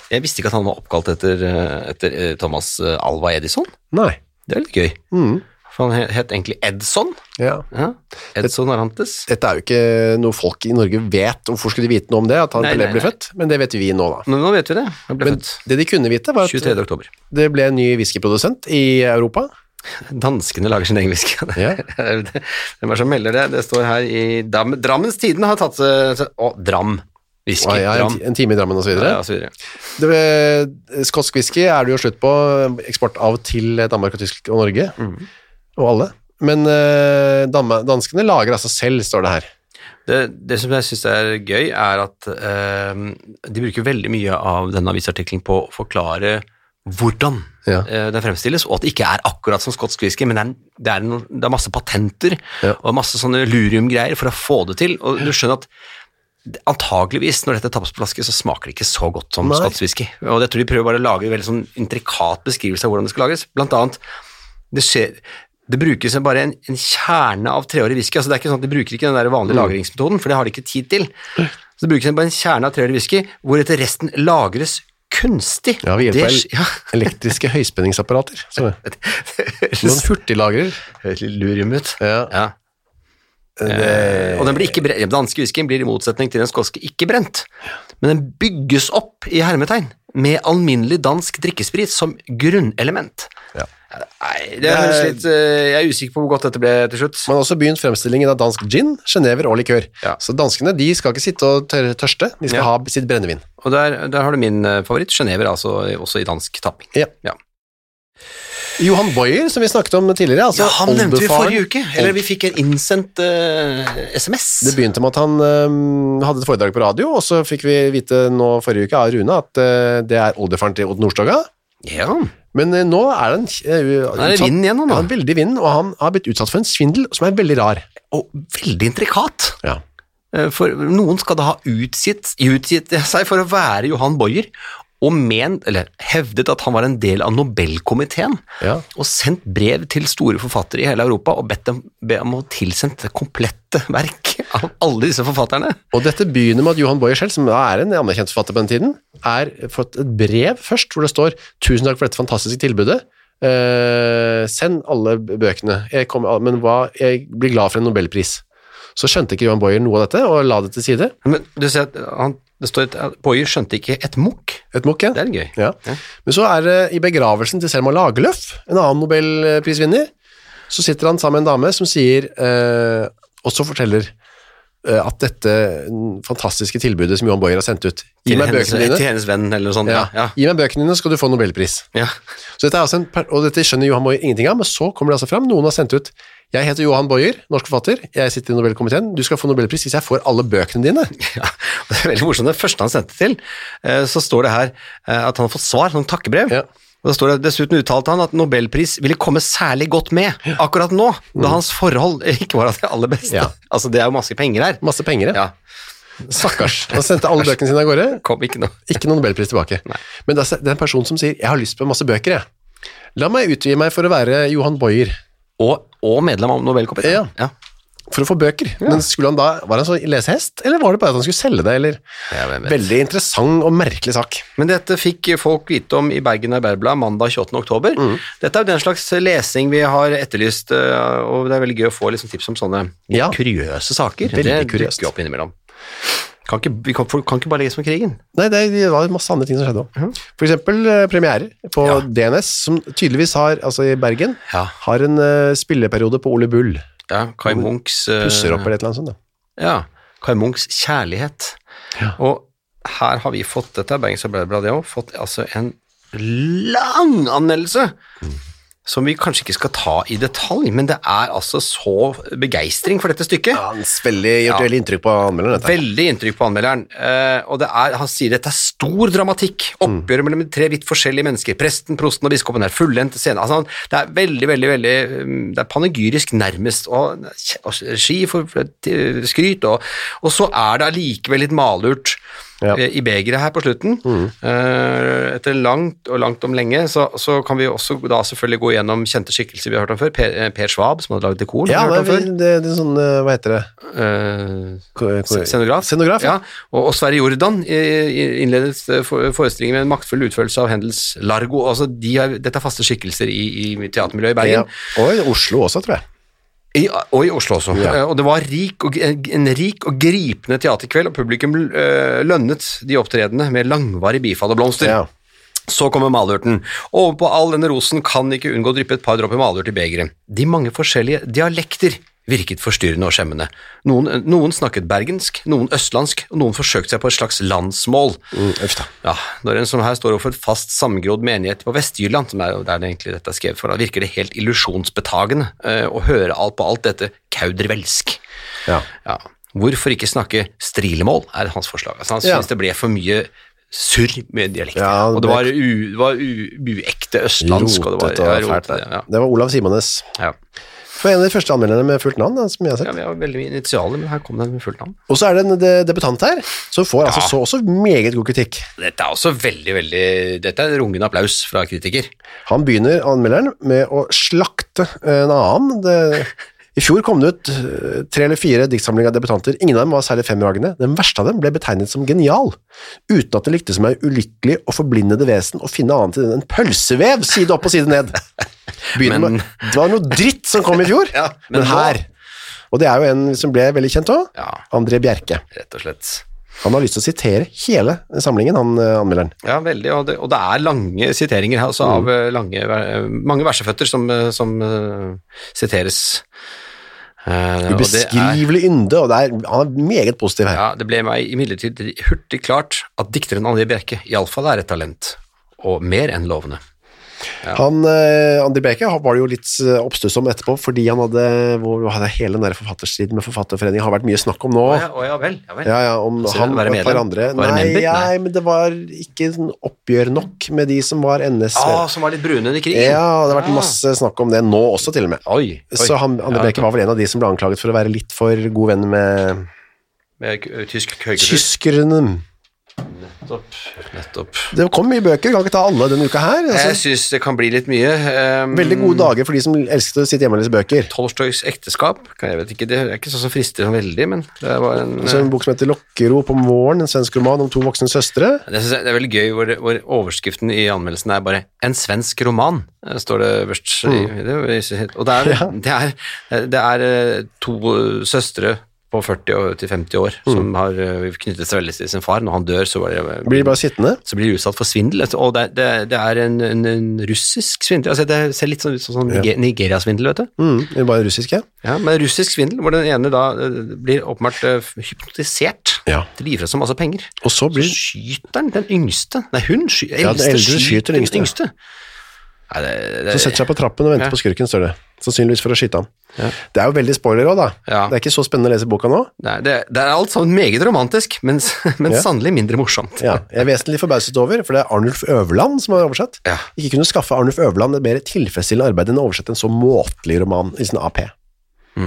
Speaker 2: Jeg visste ikke at han var oppkalt etter, eh, etter eh, Thomas eh, Alva Edison.
Speaker 1: Nei.
Speaker 2: Det er litt gøy.
Speaker 1: Mm.
Speaker 2: For han he- het egentlig Edson.
Speaker 1: Ja.
Speaker 2: Ja. Edson Arantes.
Speaker 1: Dette er jo ikke noe folk i Norge vet. Hvorfor skulle de vite noe om det, at han
Speaker 2: Nei,
Speaker 1: Pelé
Speaker 2: nei,
Speaker 1: ble
Speaker 2: nei.
Speaker 1: født? Men det vet vi nå, da.
Speaker 2: Men nå vet vi det. Han ble
Speaker 1: Men
Speaker 2: født
Speaker 1: det de kunne vite, var at
Speaker 2: 23. oktober.
Speaker 1: det ble en ny whiskyprodusent i Europa.
Speaker 2: Danskene lager sin egen whisky. <laughs>
Speaker 1: Ja.
Speaker 2: Hvem er det som melder det? Det står her i Dam Drammens Tidende har tatt eh, Å, Dram. Whisky.
Speaker 1: Og ja, en,
Speaker 2: Dram.
Speaker 1: ti- en time i Drammen og så videre.
Speaker 2: Ja, og så videre.
Speaker 1: Det ble, skotsk whisky er det jo slutt på eksport av til Danmark og Tyskland og Norge,
Speaker 2: Mhm.
Speaker 1: og alle. Men eh, Danmark- danskene lager altså selv, står det her.
Speaker 2: Det, det som jeg syns er gøy, er at eh, de bruker veldig mye av denne avisartikkelen på å forklare hvordan
Speaker 1: Ja.
Speaker 2: eh, den fremstilles, og at det ikke er akkurat som skotsk whisky, men det er, en- det er, noen- det er masse patenter
Speaker 1: Ja.
Speaker 2: og masse sånne luriumgreier for å få det til. Og du skjønner at det- antageligvis når dette tappes på flaske, så smaker det ikke så godt som
Speaker 1: Nei.
Speaker 2: skotsk whisky. Og jeg tror de prøver bare å lage en veldig sånn intrikat beskrivelse av hvordan det skal lages. Blant annet det skjer det brukes en- bare en,
Speaker 1: Mm.
Speaker 2: en kjerne av treårig whisky. altså Det er ikke sånn at de bruker ikke den der vanlige lagringsmetoden, for det har de ikke tid til. Så det brukes en- bare en kjerne av 3 liter whisky, hvoretter resten lagres kunstig.
Speaker 1: Ja, <laughs> ved hjelp
Speaker 2: det,
Speaker 1: av
Speaker 2: sk- <laughs> ja,
Speaker 1: el- elektriske høyspenningsapparater. Så,
Speaker 2: det
Speaker 1: noen
Speaker 2: høres
Speaker 1: hurtiglagrer.
Speaker 2: høres
Speaker 1: <laughs>
Speaker 2: litt lurim ut.
Speaker 1: Ja.
Speaker 2: Ja. Eh, og den blir ikke brent. Den danske whiskyen blir i motsetning til den skotske ikke brent, men den bygges opp i hermetegn med alminnelig dansk drikkesprit som grunnelement.
Speaker 1: Ja.
Speaker 2: Nei, det høres litt eh, Jeg er usikker på hvor godt dette ble til slutt.
Speaker 1: Man har også begynt fremstillingen av dansk gin, genever og likør.
Speaker 2: Ja.
Speaker 1: Så danskene de skal ikke sitte og tør- tørste, de skal
Speaker 2: Ja.
Speaker 1: ha sitt brennevin.
Speaker 2: Og der, der har du min eh, favoritt, Genever, altså også i dansk tapping.
Speaker 1: Ja.
Speaker 2: Ja.
Speaker 1: Johan Boyer, som vi snakket om tidligere, altså
Speaker 2: Ja, han nevnte vi
Speaker 1: oldefaren-
Speaker 2: forrige uke. Eller vi fikk en innsendt eh, SMS.
Speaker 1: Det begynte med at han øhm, hadde et foredrag på radio, og så fikk vi vite nå forrige uke av Rune at øh, det er oldefaren til Odd Nordstoga.
Speaker 2: Ja, nå
Speaker 1: Men øh, nå er det en øh,
Speaker 2: er det
Speaker 1: utsatt-
Speaker 2: vind igjen nå,
Speaker 1: Ja,
Speaker 2: da.
Speaker 1: han er veldig i vinden, og han har blitt utsatt for en svindel som er veldig rar.
Speaker 2: Og veldig intrikat.
Speaker 1: Ja.
Speaker 2: Eh, For noen skal da ha utgitt, utgitt seg for å være Johan Boyer, og men, eller hevdet at han var en del av Nobelkomiteen,
Speaker 1: Ja.
Speaker 2: og sendt brev til store forfattere i hele Europa og bedt dem be om å tilsendt det komplette verk av alle disse forfatterne.
Speaker 1: Og dette begynner med at Johan Boyer selv, som da er en anerkjent forfatter på den tiden, er fått et brev først, hvor det står «Tusen takk for dette fantastiske tilbudet. Eh, send alle bøkene. Jeg kommer, men hva, jeg blir glad for en Nobelpris.» Så skjønte ikke Johan Boyer noe av dette, og la det til side.
Speaker 2: Men du ser at han, det står et, at Boyer skjønte ikke et mukk.
Speaker 1: Et mokk, ja.
Speaker 2: Det er gøy.
Speaker 1: Ja. Men så er det i begravelsen til Selma Lagerlöf, en annen Nobelprisvinner, så sitter han sammen med en dame som sier, eh, også forteller, eh, at dette fantastiske tilbudet som Johan Boyer har sendt ut, gi
Speaker 2: Til
Speaker 1: meg
Speaker 2: hennes-
Speaker 1: bøkene
Speaker 2: Til
Speaker 1: dine,
Speaker 2: hennes venn, eller noe sånt. Ja.
Speaker 1: ja,
Speaker 2: ja.
Speaker 1: gi meg bøkene dine, så skal du få Nobelpris.
Speaker 2: ja.
Speaker 1: Så dette er altså en, per- og dette skjønner Johan Boyer ingenting av, men så kommer det altså frem, noen har sendt ut, jeg heter Johan Boyer, norsk forfatter, jeg sitter i Nobelkomiteen, du skal få Nobelpris hvis jeg får alle bøkene dine.
Speaker 2: Ja, <laughs> og det er veldig morsomt. Det første han sendte til, eh, så står det her eh, at han har fått svar, sånn takkebrev.
Speaker 1: Ja.
Speaker 2: Og da står det, Dessuten uttalte han at nobelpris ville komme særlig godt med akkurat nå, da hans forhold <laughs> ikke var av det aller beste.
Speaker 1: Ja.
Speaker 2: Altså, det er jo masse penger her.
Speaker 1: Masse penger, ja.
Speaker 2: Ja,
Speaker 1: Stakkars. Han sendte alle bøkene sine av gårde,
Speaker 2: kom ikke noe.
Speaker 1: Ikke noen Nobelpris tilbake. Men det er det er en person som sier 'jeg har lyst på masse bøker', jeg. La meg utgi meg for å være Johan Boyer,
Speaker 2: Og, og medlem av Nobelkomiteen. Ja.
Speaker 1: for å få bøker. Men skulle han da, var han så lesehest, eller var det bare at han skulle selge det? Eller?
Speaker 2: Ja, hvem vet.
Speaker 1: Veldig interessant og merkelig sak.
Speaker 2: Men dette fikk folk vite om i Bergen Arbeiderblad mandag 28. oktober.
Speaker 1: Mm.
Speaker 2: Dette er jo den slags lesing vi har etterlyst, eh, og det er veldig gøy å få liksom tips om sånne
Speaker 1: Ja.
Speaker 2: kuriøse saker.
Speaker 1: Veldig
Speaker 2: det
Speaker 1: kuriøst.
Speaker 2: dukker opp innimellom. Kan ikke, vi kan, folk kan ikke bare lese om krigen.
Speaker 1: Nei, det, det var masse andre ting som skjedde òg. For eksempel eh, premierer på
Speaker 2: Ja.
Speaker 1: DNS, som tydeligvis har, altså i Bergen,
Speaker 2: Ja.
Speaker 1: har en eh, spilleperiode på Ole Bull.
Speaker 2: ja Kai Munchs eh,
Speaker 1: Pusser opp eller et eller annet sånt. Da.
Speaker 2: Ja. Kai Munchs kjærlighet.
Speaker 1: Ja.
Speaker 2: Og her har vi fått dette, er Bergens Arbeiderblad det òg, fått altså en lang anmeldelse.
Speaker 1: Mm.
Speaker 2: Som vi kanskje ikke skal ta i detalj, men det er altså så begeistring for dette stykket.
Speaker 1: Ja, han s- veldig, gjort veldig inntrykk på anmelderen, dette.
Speaker 2: Veldig inntrykk på anmelderen. Eh, og det er, han sier dette er stor dramatikk. Oppgjøret mellom de tre vidt fullendt forskjellige mennesker. Presten, prosten og biskopen er fullendt scene. Altså, han- det er veldig, veldig, veldig mm, Det er panegyrisk, nærmest. Og, og regi for for- til skryt. Og, og så er det allikevel litt malurt
Speaker 1: Ja. Mm.
Speaker 2: eh, i begeret her på slutten. Eh, etter langt og langt om lenge, så, så kan vi også da selvfølgelig gå gjennom kjente skikkelser vi har hørt om før. Per, eh, per Schwab, som hadde laget dekoren.
Speaker 1: Ja,
Speaker 2: har vi
Speaker 1: det,
Speaker 2: hørt om
Speaker 1: er- det, det er sånn, eh, hva heter det?
Speaker 2: før. Eh,
Speaker 1: Ko- ko-
Speaker 2: Scenograf.
Speaker 1: Scenograf, ja.
Speaker 2: ja. Og, og Sverre Jordan eh, innledet eh, for- forestillingen med en maktfull utførelse av Hendels Largo. Altså, de er, dette er faste skikkelser i, i teatermiljøet i Bergen,
Speaker 1: Ja. Og i Oslo også, tror jeg.
Speaker 2: I, og i Oslo også.
Speaker 1: Ja.
Speaker 2: Eh, Og det var rik og, en rik og gripende teaterkveld, og publikum eh, lønnet de opptredende med langvarig bifall og blomster.
Speaker 1: Ja.
Speaker 2: Så kommer malurten. Og på all denne rosen kan ikke unngå å dryppe et par dråper malurt i begeret. De mange forskjellige dialekter virket forstyrrende og skjemmende. Noen, noen snakket bergensk, noen østlandsk, og noen forsøkte seg på et slags landsmål.
Speaker 1: Mm,
Speaker 2: Ja, når en som her står overfor et fast sammengrodd menighet på Vestjylland, som er jo der det egentlig dette er skrevet for, da virker det helt illusjonsbetagende eh, å høre alt på alt dette kaudervelsk.
Speaker 1: Ja.
Speaker 2: Ja. Hvorfor ikke snakke strilemål, er hans forslag. Altså, han
Speaker 1: Ja.
Speaker 2: syntes det ble for mye surr med dialekter.
Speaker 1: Ja,
Speaker 2: og
Speaker 1: det
Speaker 2: det var, u, det var u, uekte østlandsk.
Speaker 1: Rotete og
Speaker 2: og det var, ja,
Speaker 1: fælt.
Speaker 2: rotete,
Speaker 1: der.
Speaker 2: ja.
Speaker 1: Det var Olav Simones.
Speaker 2: Ja.
Speaker 1: For en av de første anmelderne med fullt navn, da, som jeg har
Speaker 2: ja,
Speaker 1: sett.
Speaker 2: vi har veldig mye initialer, men her kom den med fullt navn.
Speaker 1: Og så er det en de- debutant her, som får altså så også meget god kritikk.
Speaker 2: Dette er også veldig, veldig Dette er en rungende applaus fra kritiker.
Speaker 1: Han begynner, anmelderen, med å slakte en annen. Det, I fjor kom det ut eh, tre eller fire diktsamlinger av debutanter. Ingen av dem var særlig fremragende. Den verste av dem ble betegnet som genial, uten at det lyktes meg ulykkelig og forblindede vesen å finne annet enn en pølsevev side opp og side ned. Begynner
Speaker 2: Men-
Speaker 1: med, det var noe dritt som kom i fjor,
Speaker 2: <laughs> Ja, men
Speaker 1: men, her. Og det er jo en som ble veldig kjent òg.
Speaker 2: Ja,
Speaker 1: André Bjerke.
Speaker 2: rett og slett.
Speaker 1: Han har lyst til å sitere hele samlingen, han eh, anmelderen.
Speaker 2: Ja, veldig. Og det, og det er lange siteringer her,
Speaker 1: Mm.
Speaker 2: altså, av eh, lange, ver- eh, mange verseføtter som, eh, som eh, siteres. Eh, og det er-
Speaker 1: Ubeskrivelig ynde, og det er, han er meget positiv her.
Speaker 2: Ja, det ble meg imidlertid hurtig klart at dikteren André Bjerke iallfall er et talent, og mer enn lovende.
Speaker 1: Han, eh, André Bjerke han var det jo litt eh, oppstuss om etterpå, fordi han hadde, hvor, hadde hele den der forfatterstriden med Forfatterforeningen har vært mye snakk om nå.
Speaker 2: Å
Speaker 1: ja.
Speaker 2: ja, å ja vel. Ja, vel.
Speaker 1: Ja, om
Speaker 2: Så
Speaker 1: han og
Speaker 2: være
Speaker 1: et par
Speaker 2: medlem?
Speaker 1: andre.
Speaker 2: Være
Speaker 1: Nei,
Speaker 2: member? Nei.
Speaker 1: nei, men det var ikke sånn oppgjør nok med de som var NS.
Speaker 2: Ah, som var litt brune under krigen.
Speaker 1: ja, det har vært
Speaker 2: Ah.
Speaker 1: masse snakk om det nå også, til og med.
Speaker 2: Oi, oi.
Speaker 1: Så han, André
Speaker 2: Ja,
Speaker 1: Bjerke var vel en av de som ble anklaget for å være litt for god venn med
Speaker 2: Med k- tysk høykultur.
Speaker 1: tyskerne.
Speaker 2: Nettopp. Nettopp.
Speaker 1: Det kom mye bøker, kan ikke ta alle denne uka her.
Speaker 2: Jeg
Speaker 1: Altså,
Speaker 2: syns det kan bli litt mye. Um,
Speaker 1: veldig gode dager for de som elsket å sitte hjemme og lese bøker.
Speaker 2: Tolstojs ekteskap. kan- Jeg vet ikke, det er ikke sånn som frister sånn veldig, men det var en
Speaker 1: Så en bok som heter Lokkerop om våren, en svensk roman om to voksne søstre.
Speaker 2: Det, synes jeg, det er veldig gøy hvor, hvor overskriften i anmeldelsen er bare 'en svensk roman', eh, står det først. i- det- Og det er, det, er, det er eh, to søstre på 40 og til 50 år som har eh, knyttet seg veldig til sin far. Når han dør, så, bare,
Speaker 1: Blir bare sittende.
Speaker 2: så blir de utsatt for svindel. Altså, Og det, det, det er en, en, en russisk svindel. Altså, det ser litt sånn ut som sånn Nige- Nigeria-svindel, vet du.
Speaker 1: Mm, det er bare russiske.
Speaker 2: Ja, men russisk svindel, hvor den ene da eh, blir åpenbart eh, hypnotisert
Speaker 1: Ja.
Speaker 2: til å gi fra seg masse penger.
Speaker 1: Og så
Speaker 2: Så
Speaker 1: blir
Speaker 2: skyter han den yngste. Nei, hun sky,
Speaker 1: Ja,
Speaker 2: eldste
Speaker 1: den eldre skyter den yngste.
Speaker 2: Nei, det, det,
Speaker 1: Så setter seg på trappen og venter
Speaker 2: Ja.
Speaker 1: på skurken, står det. Sannsynligvis for å skyte ham.
Speaker 2: Ja.
Speaker 1: Det er jo veldig spoiler òg, da.
Speaker 2: Ja.
Speaker 1: Det er ikke så spennende å lese boka nå.
Speaker 2: Nei, det, det er alt sammen meget romantisk, men, s- <laughs> men
Speaker 1: Ja.
Speaker 2: sannelig mindre morsomt.
Speaker 1: Ja, jeg er vesentlig forbauset over, for det er Arnulf Øverland som har oversett.
Speaker 2: Ja.
Speaker 1: Ikke kunne skaffe Arnulf Øverland et mer tilfredsstillende arbeid enn å oversette en så måtelig roman i sin AP.
Speaker 2: Mm.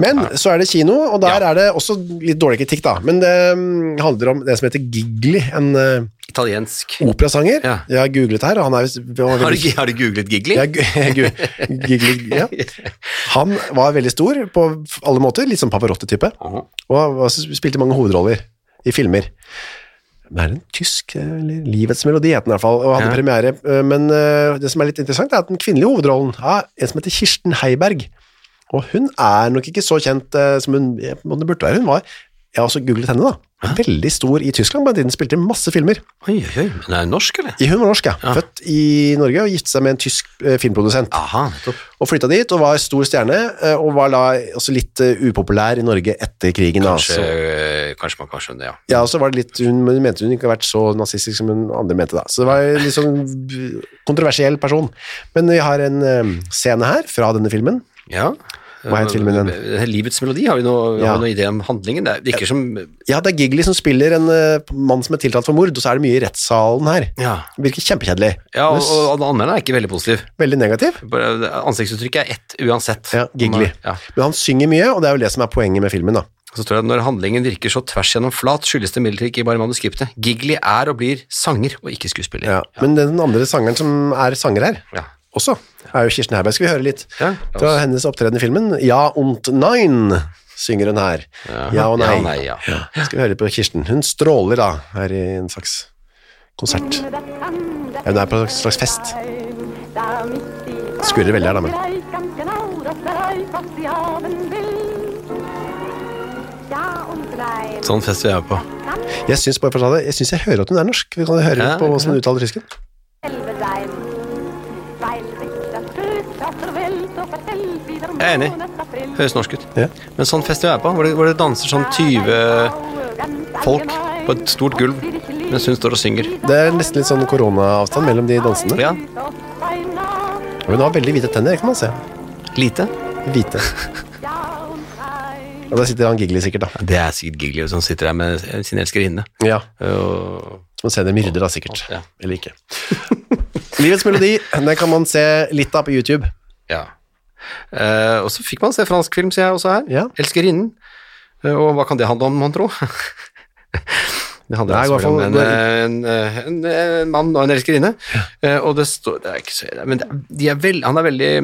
Speaker 1: Men så er det kino, og der er det også litt dårlig kritikk, da. Men det mm, handler om det som heter Gigli, en eh,
Speaker 2: Italiensk.
Speaker 1: operasanger.
Speaker 2: Ja.
Speaker 1: Jeg har googlet her, og han er visst- han var
Speaker 2: Har
Speaker 1: veldig <laughs>
Speaker 2: du, har du googlet Gigli?
Speaker 1: Ja, gu- gu- Gigli, ja. Han var veldig stor på alle måter, litt sånn Pavarotti-type,
Speaker 2: <laughs> Aha.
Speaker 1: og han var- spilte mange hovedroller i filmer. Det er en tysk, eh, eller Livets melodi heter den i hvert fall, og hadde
Speaker 2: Ja.
Speaker 1: premiere. eh, Men eh, det som er litt interessant er at den kvinnelige hovedrollen er en som heter Kirsten Heiberg, og hun er nok ikke så kjent eh, som hun, eh, om det burde være. Hun var, jeg har også googlet henne da, veldig stor i Tyskland på den tiden, spilte i masse filmer.
Speaker 2: Oi, oi, oi. Men er hun norsk, eller?
Speaker 1: I- Hun var norsk, ja.
Speaker 2: Ja.
Speaker 1: Født i Norge og gifte seg med en tysk eh, filmprodusent
Speaker 2: Aha, nettopp.
Speaker 1: og flytta dit og var stor stjerne, eh, og var da også litt eh, upopulær i Norge etter krigen.
Speaker 2: Kanskje, eh,
Speaker 1: Altså.
Speaker 2: kanskje man kan skjønne det, ja.
Speaker 1: Ja, og så var det litt, hun men hun mente hun ikke hadde vært så nazistisk som hun andre mente da. Så det var en litt sånn <laughs> v- kontroversiell person. Men vi har en eh, scene her fra denne filmen.
Speaker 2: ja.
Speaker 1: Hva het filmen
Speaker 2: Eh, Livets melodi, har vi noe,
Speaker 1: Ja.
Speaker 2: har vi noe idé om handlingen? Det virker som
Speaker 1: Ja, det er Gigli som spiller en eh, mann som er tiltalt for mord, og så er det mye i rettssalen her.
Speaker 2: Ja,
Speaker 1: Virker kjempekjedelig.
Speaker 2: ja og,
Speaker 1: Men s-
Speaker 2: og anmelderen er ikke veldig positiv.
Speaker 1: Veldig negativ.
Speaker 2: Bare- Ansiktsuttrykket er ett uansett.
Speaker 1: Ja, Gigli.
Speaker 2: Ja.
Speaker 1: Men han synger mye, og det er jo det som er poenget med filmen da.
Speaker 2: Så står det at når handlingen virker så tvers gjennom flat, skyldes det imidlertid ikke bare manuskriptet. Gigli er og blir sanger, og ikke skuespiller.
Speaker 1: Ja. Men den andre sangeren som er sanger her,
Speaker 2: Ja.
Speaker 1: også, er jo Kirsten Herberg. Skal vi høre litt
Speaker 2: Ja, la oss.
Speaker 1: fra hennes opptreden i filmen? Ja und nein, synger hun her. Ja og nei.
Speaker 2: Ja og nei, ja.
Speaker 1: Skal vi høre litt på Kirsten. Hun stråler da, her i en slags konsert.
Speaker 3: Ja,
Speaker 1: hun er på en slags fest.
Speaker 3: Skurrer veldig her, da, men
Speaker 2: Sånn fest vil jeg være på.
Speaker 1: Jeg syns bare for å ta det, jeg synes jeg hører at hun er norsk. Vi kan høre
Speaker 2: Ja,
Speaker 1: litt på hvordan hun uttaler tysken.
Speaker 3: Jeg er enig.
Speaker 2: Høres norsk ut.
Speaker 1: Ja.
Speaker 2: Men sånn fest vil jeg være på, hvor det, hvor det danser sånn 20 folk på et stort gulv, mens hun står og synger.
Speaker 1: Det er nesten litt sånn koronaavstand mellom de dansene.
Speaker 2: Ja,
Speaker 1: Og hun har veldig hvite tenner, det kan man se.
Speaker 2: lite.
Speaker 1: Hvite. Og der sitter han Gigli sikkert, da.
Speaker 2: Det er sikkert Gigli som sitter der med sin elskerinne.
Speaker 1: Ja.
Speaker 2: Og-
Speaker 1: Som man ser det myrder, da, sikkert.
Speaker 2: Ja.
Speaker 1: Eller ikke. <laughs> Livets melodi, den kan man se litt av på YouTube.
Speaker 2: Ja. Eh, og så fikk man se fransk film, sier jeg også her.
Speaker 1: Ja.
Speaker 2: Elskerinnen. Eh, og hva kan det handle om, mon tro? <laughs> det handler
Speaker 1: Nei, i hvert
Speaker 2: altså om
Speaker 1: fall-
Speaker 2: en, eh, en, eh, en, eh, mann og en elskerinne. Eh, og det står det er ikke så, men det, er- de er vel, han er veldig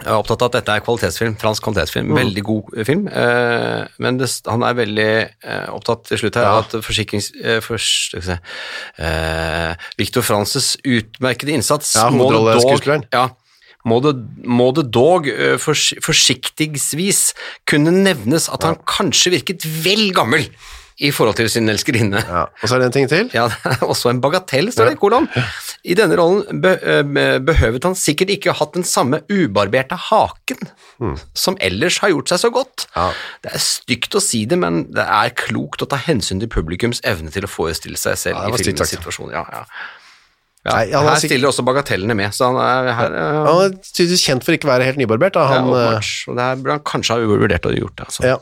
Speaker 2: Jeg er opptatt av at dette er kvalitetsfilm, fransk kvalitetsfilm,
Speaker 1: Mm.
Speaker 2: veldig god eh, film. eh, men det, han er veldig eh, opptatt til slutt her
Speaker 1: Ja.
Speaker 2: av at forsikrings... Uh, for, skal vi se, eh, Victor Frances utmerkede innsats
Speaker 1: Ja,
Speaker 2: må det dog-
Speaker 1: hovedrolleskuespilleren.
Speaker 2: Ja, må det, må det dog eh, fors, forsiktigsvis kunne nevnes at han kanskje virket vel gammel i forhold til sin elskerinne.
Speaker 1: Ja. Og så er det en ting til.
Speaker 2: <laughs> Ja, det er også en bagatell, står det i kolon. I denne rollen be eh, behøvet han sikkert ikke ha hatt den samme ubarberte haken som ellers har gjort seg så godt.
Speaker 1: Hmm. Ja.
Speaker 2: Det er stygt å si det, men det er klokt å ta hensyn til publikums evne til å forestille seg selv
Speaker 1: Ja, det var
Speaker 2: i
Speaker 1: stygt
Speaker 2: filmens
Speaker 1: sagt.
Speaker 2: situasjon. Ja, ja. Ja,
Speaker 1: Nei, han er
Speaker 2: her
Speaker 1: sikk-
Speaker 2: stiller også bagatellene med, så han er her eh,
Speaker 1: Han er tydeligvis kjent for ikke å være helt nybarbert. Da.
Speaker 2: er
Speaker 1: Han, eh,
Speaker 2: åpenbart, og det her burde han kanskje ha vurdert å gjort det. Altså.
Speaker 1: ja,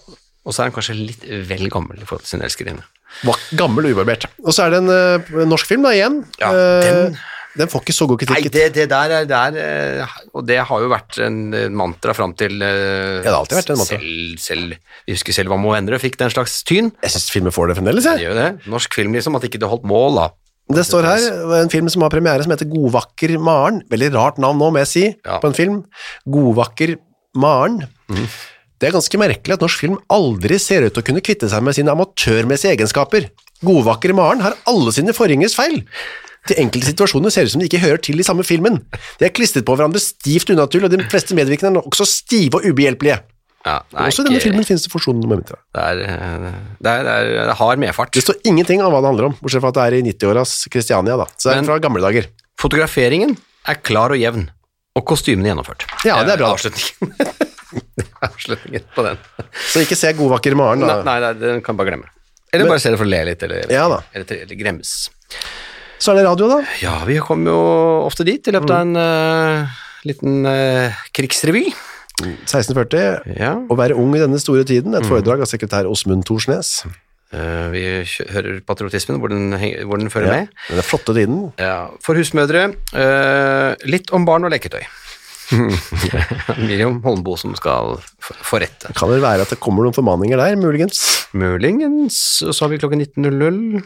Speaker 2: Og så er han kanskje litt vel gammel i forhold til sin elskerinne.
Speaker 1: var gammel og ubarbert. Og så er det en eh, norsk film, da, igjen.
Speaker 2: Ja,
Speaker 1: Eh,
Speaker 2: den-
Speaker 1: den får ikke så god kritikk.
Speaker 2: Nei, det, det der er det er, eh, Og det har jo vært en eh, mantra fram til eh,
Speaker 1: det har alltid vært en mantra.
Speaker 2: Selv, selv, jeg husker selv hva Mo Endre fikk den slags tyn.
Speaker 1: Jeg syns filmen får det fremdeles.
Speaker 2: Det
Speaker 1: Jeg.
Speaker 2: gjør jo det. Norsk film, liksom. At ikke det holdt mål, da.
Speaker 1: Det står her en film som har premiere, som heter Godvakker Maren. Veldig rart navn nå, må jeg si,
Speaker 2: Ja. Mhm.
Speaker 1: på en film. Godvakker Maren. Det er ganske merkelig at norsk film aldri ser ut til å kunne kvitte seg med sine amatørmessige egenskaper. Godvakker Maren har alle sine forgjengers feil. Til enkelte situasjoner ser det ut som de ikke hører til i samme filmen. De er klistret på hverandre stivt unaturlig, og de fleste medvirkende er også stive og ubehjelpelige.
Speaker 2: Ja, det er
Speaker 1: Også i denne
Speaker 2: ikke-
Speaker 1: filmen finnes det forsonende momenter.
Speaker 2: Det er, eh, det er, det er, det er hard medfart.
Speaker 1: Det står ingenting om hva det handler om, bortsett fra at det er i 90-åras Kristiania, da. Så det
Speaker 2: Men-
Speaker 1: er fra gamle dager.
Speaker 2: Fotograferingen er klar og jevn, og kostymene gjennomført. Eh,
Speaker 1: Ja, det er bra.
Speaker 2: Avslutningen. <laughs> Avslutningen på den.
Speaker 1: Så ikke se God vakker morgen,
Speaker 2: Nei,
Speaker 1: da.
Speaker 2: nei, nei, den kan bare glemme. Eller bare se det for å le litt, eller,
Speaker 1: Ja da.
Speaker 2: eller, eller, eller gremmes.
Speaker 1: Så er det radio, da.
Speaker 2: Ja, vi kom jo ofte dit i løpet av en
Speaker 1: Mm.
Speaker 2: eh, liten eh, krigsrevy.
Speaker 1: 1640.
Speaker 2: Ja. Mm.
Speaker 1: Å være ung i denne store tiden. Et foredrag av sekretær Åsmund Thorsnes.
Speaker 2: Eh, vi kjø- hører patriotismen, hvor den, heng- hvor den fører
Speaker 1: Ja.
Speaker 2: med.
Speaker 1: Den er flotte tiden.
Speaker 2: Ja. For husmødre, eh, litt om barn og
Speaker 1: <laughs>
Speaker 2: leketøy. <laughs> Miriam Holmboe som skal for- forrette.
Speaker 1: Kan vel være at det kommer noen formaninger der, muligens.
Speaker 2: Muligens, og så har vi klokken 19.00.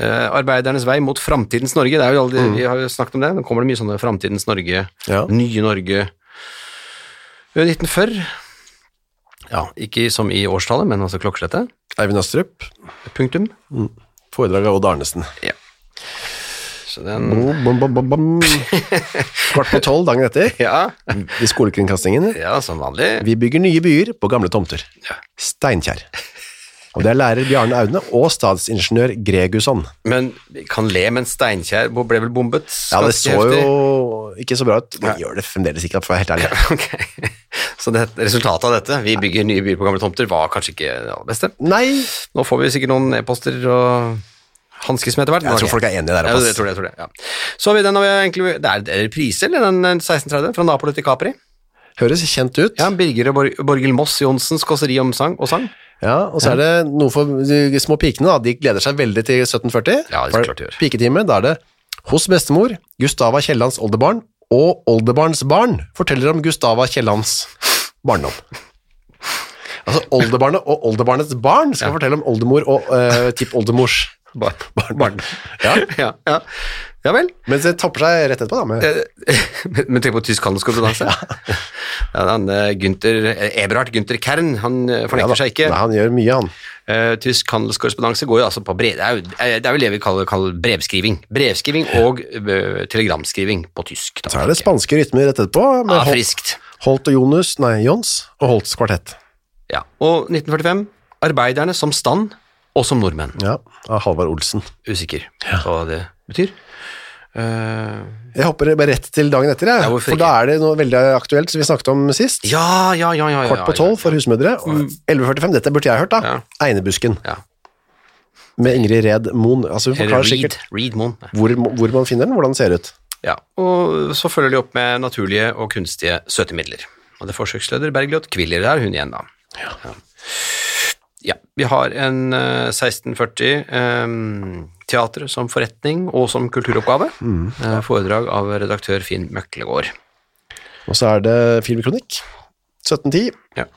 Speaker 2: eh, arbeidernes vei mot framtidens Norge. Det er jo alle,
Speaker 1: Mm.
Speaker 2: de- Vi har jo snakket om det. Nå kommer det mye sånne framtidens Norge,
Speaker 1: Ja.
Speaker 2: nye Norge. Eh, 1940. Ja, ikke som i årstallet, men altså klokkeslettet.
Speaker 1: Eivind Astrup.
Speaker 2: Punktum.
Speaker 1: Foredrag av Odd Arnesen.
Speaker 2: Så den
Speaker 1: Bom, bom, bom, bom,
Speaker 2: <laughs>
Speaker 1: bom. Kvart på tolv dagen etter.
Speaker 2: Ja,
Speaker 1: I skolekringkastingen.
Speaker 2: ja som vanlig.
Speaker 1: Vi bygger nye byer på gamle tomter.
Speaker 2: Ja.
Speaker 1: Steinkjer. Og det er lærer Bjarne Aune og statsingeniør Gregusson.
Speaker 2: Men vi kan le, men Steinkjer ble vel bombet?
Speaker 1: Ja, det
Speaker 2: ganske
Speaker 1: så
Speaker 2: heftig.
Speaker 1: jo ikke så bra ut. Det gjør det fremdeles ikke, for å være helt ærlig.
Speaker 2: <laughs> Ok. Så det, resultatet av dette, vi bygger nye byer på gamle tomter, var kanskje ikke det aller beste.
Speaker 1: Nei,
Speaker 2: Nå får vi sikkert noen e-poster og hanskes med etter hvert.
Speaker 1: Jeg tror folk er enige der,
Speaker 2: Ja,
Speaker 1: ass.
Speaker 2: jeg tror det, jeg tror det, ja. Så har vi den, har vi egentlig, det er en reprise, eller den eh, 1630, fra Napoli til Capri.
Speaker 1: høres kjent ut.
Speaker 2: Ja, Birger og Bor Borgil Moss Johnsens kåseri om sang og sang.
Speaker 1: Ja, og så er det noe for de små pikene, da. De gleder seg veldig til 1740.
Speaker 2: Ja, det er
Speaker 1: For
Speaker 2: klart de gjør.
Speaker 1: Piketime, da er det hos bestemor, Gustava Kiellands oldebarn og oldebarns barn forteller om Gustava Kiellands barndom. Altså oldebarnet og oldebarnets barn skal fortelle om oldemor og uh, tippoldemors
Speaker 2: Bar
Speaker 1: barn. Ja,
Speaker 2: ja, ja. ja vel. <laughs>
Speaker 1: mens det topper seg rett etterpå, da. Med,
Speaker 2: Eh, Men tenk på tysk handelskonferanse. Ja. han, eh, Günther, eh, Eberhard Gunther Kern, han eh,
Speaker 1: Ja
Speaker 2: fornekter
Speaker 1: da.
Speaker 2: seg ikke.
Speaker 1: Nei, han gjør mye, han.
Speaker 2: Eh, tysk handelskorrespondanse går jo altså på brev, det, er jo, eh, det er vel det vi kaller, kaller brevskriving. Brevskriving og eh, telegramskriving på tysk. da.
Speaker 1: Så er det spanske rytmer rett etterpå, med
Speaker 2: Ja,
Speaker 1: Hol-
Speaker 2: friskt.
Speaker 1: Holt og Jonus, nei, Jons og Holts kvartett.
Speaker 2: Ja. Og 1945, arbeiderne som stand og som nordmenn.
Speaker 1: Ja, av Halvard Olsen.
Speaker 2: Usikker på hva det betyr. Eh,
Speaker 1: Jeg hopper bare rett til dagen etter, jeg.
Speaker 2: Ja, hvorfor
Speaker 1: for da er det noe veldig aktuelt som vi snakket om sist.
Speaker 2: ja, ja, ja, ja, ja. Mm.
Speaker 1: Kvart på tolv for husmødre. og 11.45, dette burde jeg hørt, da.
Speaker 2: Ja.
Speaker 1: Einebusken
Speaker 2: Ja.
Speaker 1: med Ingrid Red Moen. Altså, hun
Speaker 2: Eller
Speaker 1: forklarer
Speaker 2: Reed,
Speaker 1: sikkert
Speaker 2: Reed Moon. Nei.
Speaker 1: hvor, hvor man finner den, hvordan den ser ut.
Speaker 2: Ja, og så følger de opp med naturlige og kunstige søtemidler. Og det er forsøksleder Bergljot Kviller er hun igjen da. Ja. Ja, vi har en eh, 1640 um, teater som forretning og som kulturoppgave. Eh, foredrag av redaktør Finn Møklegård.
Speaker 1: Og så er det filmkronikk. 1710.
Speaker 2: Ja.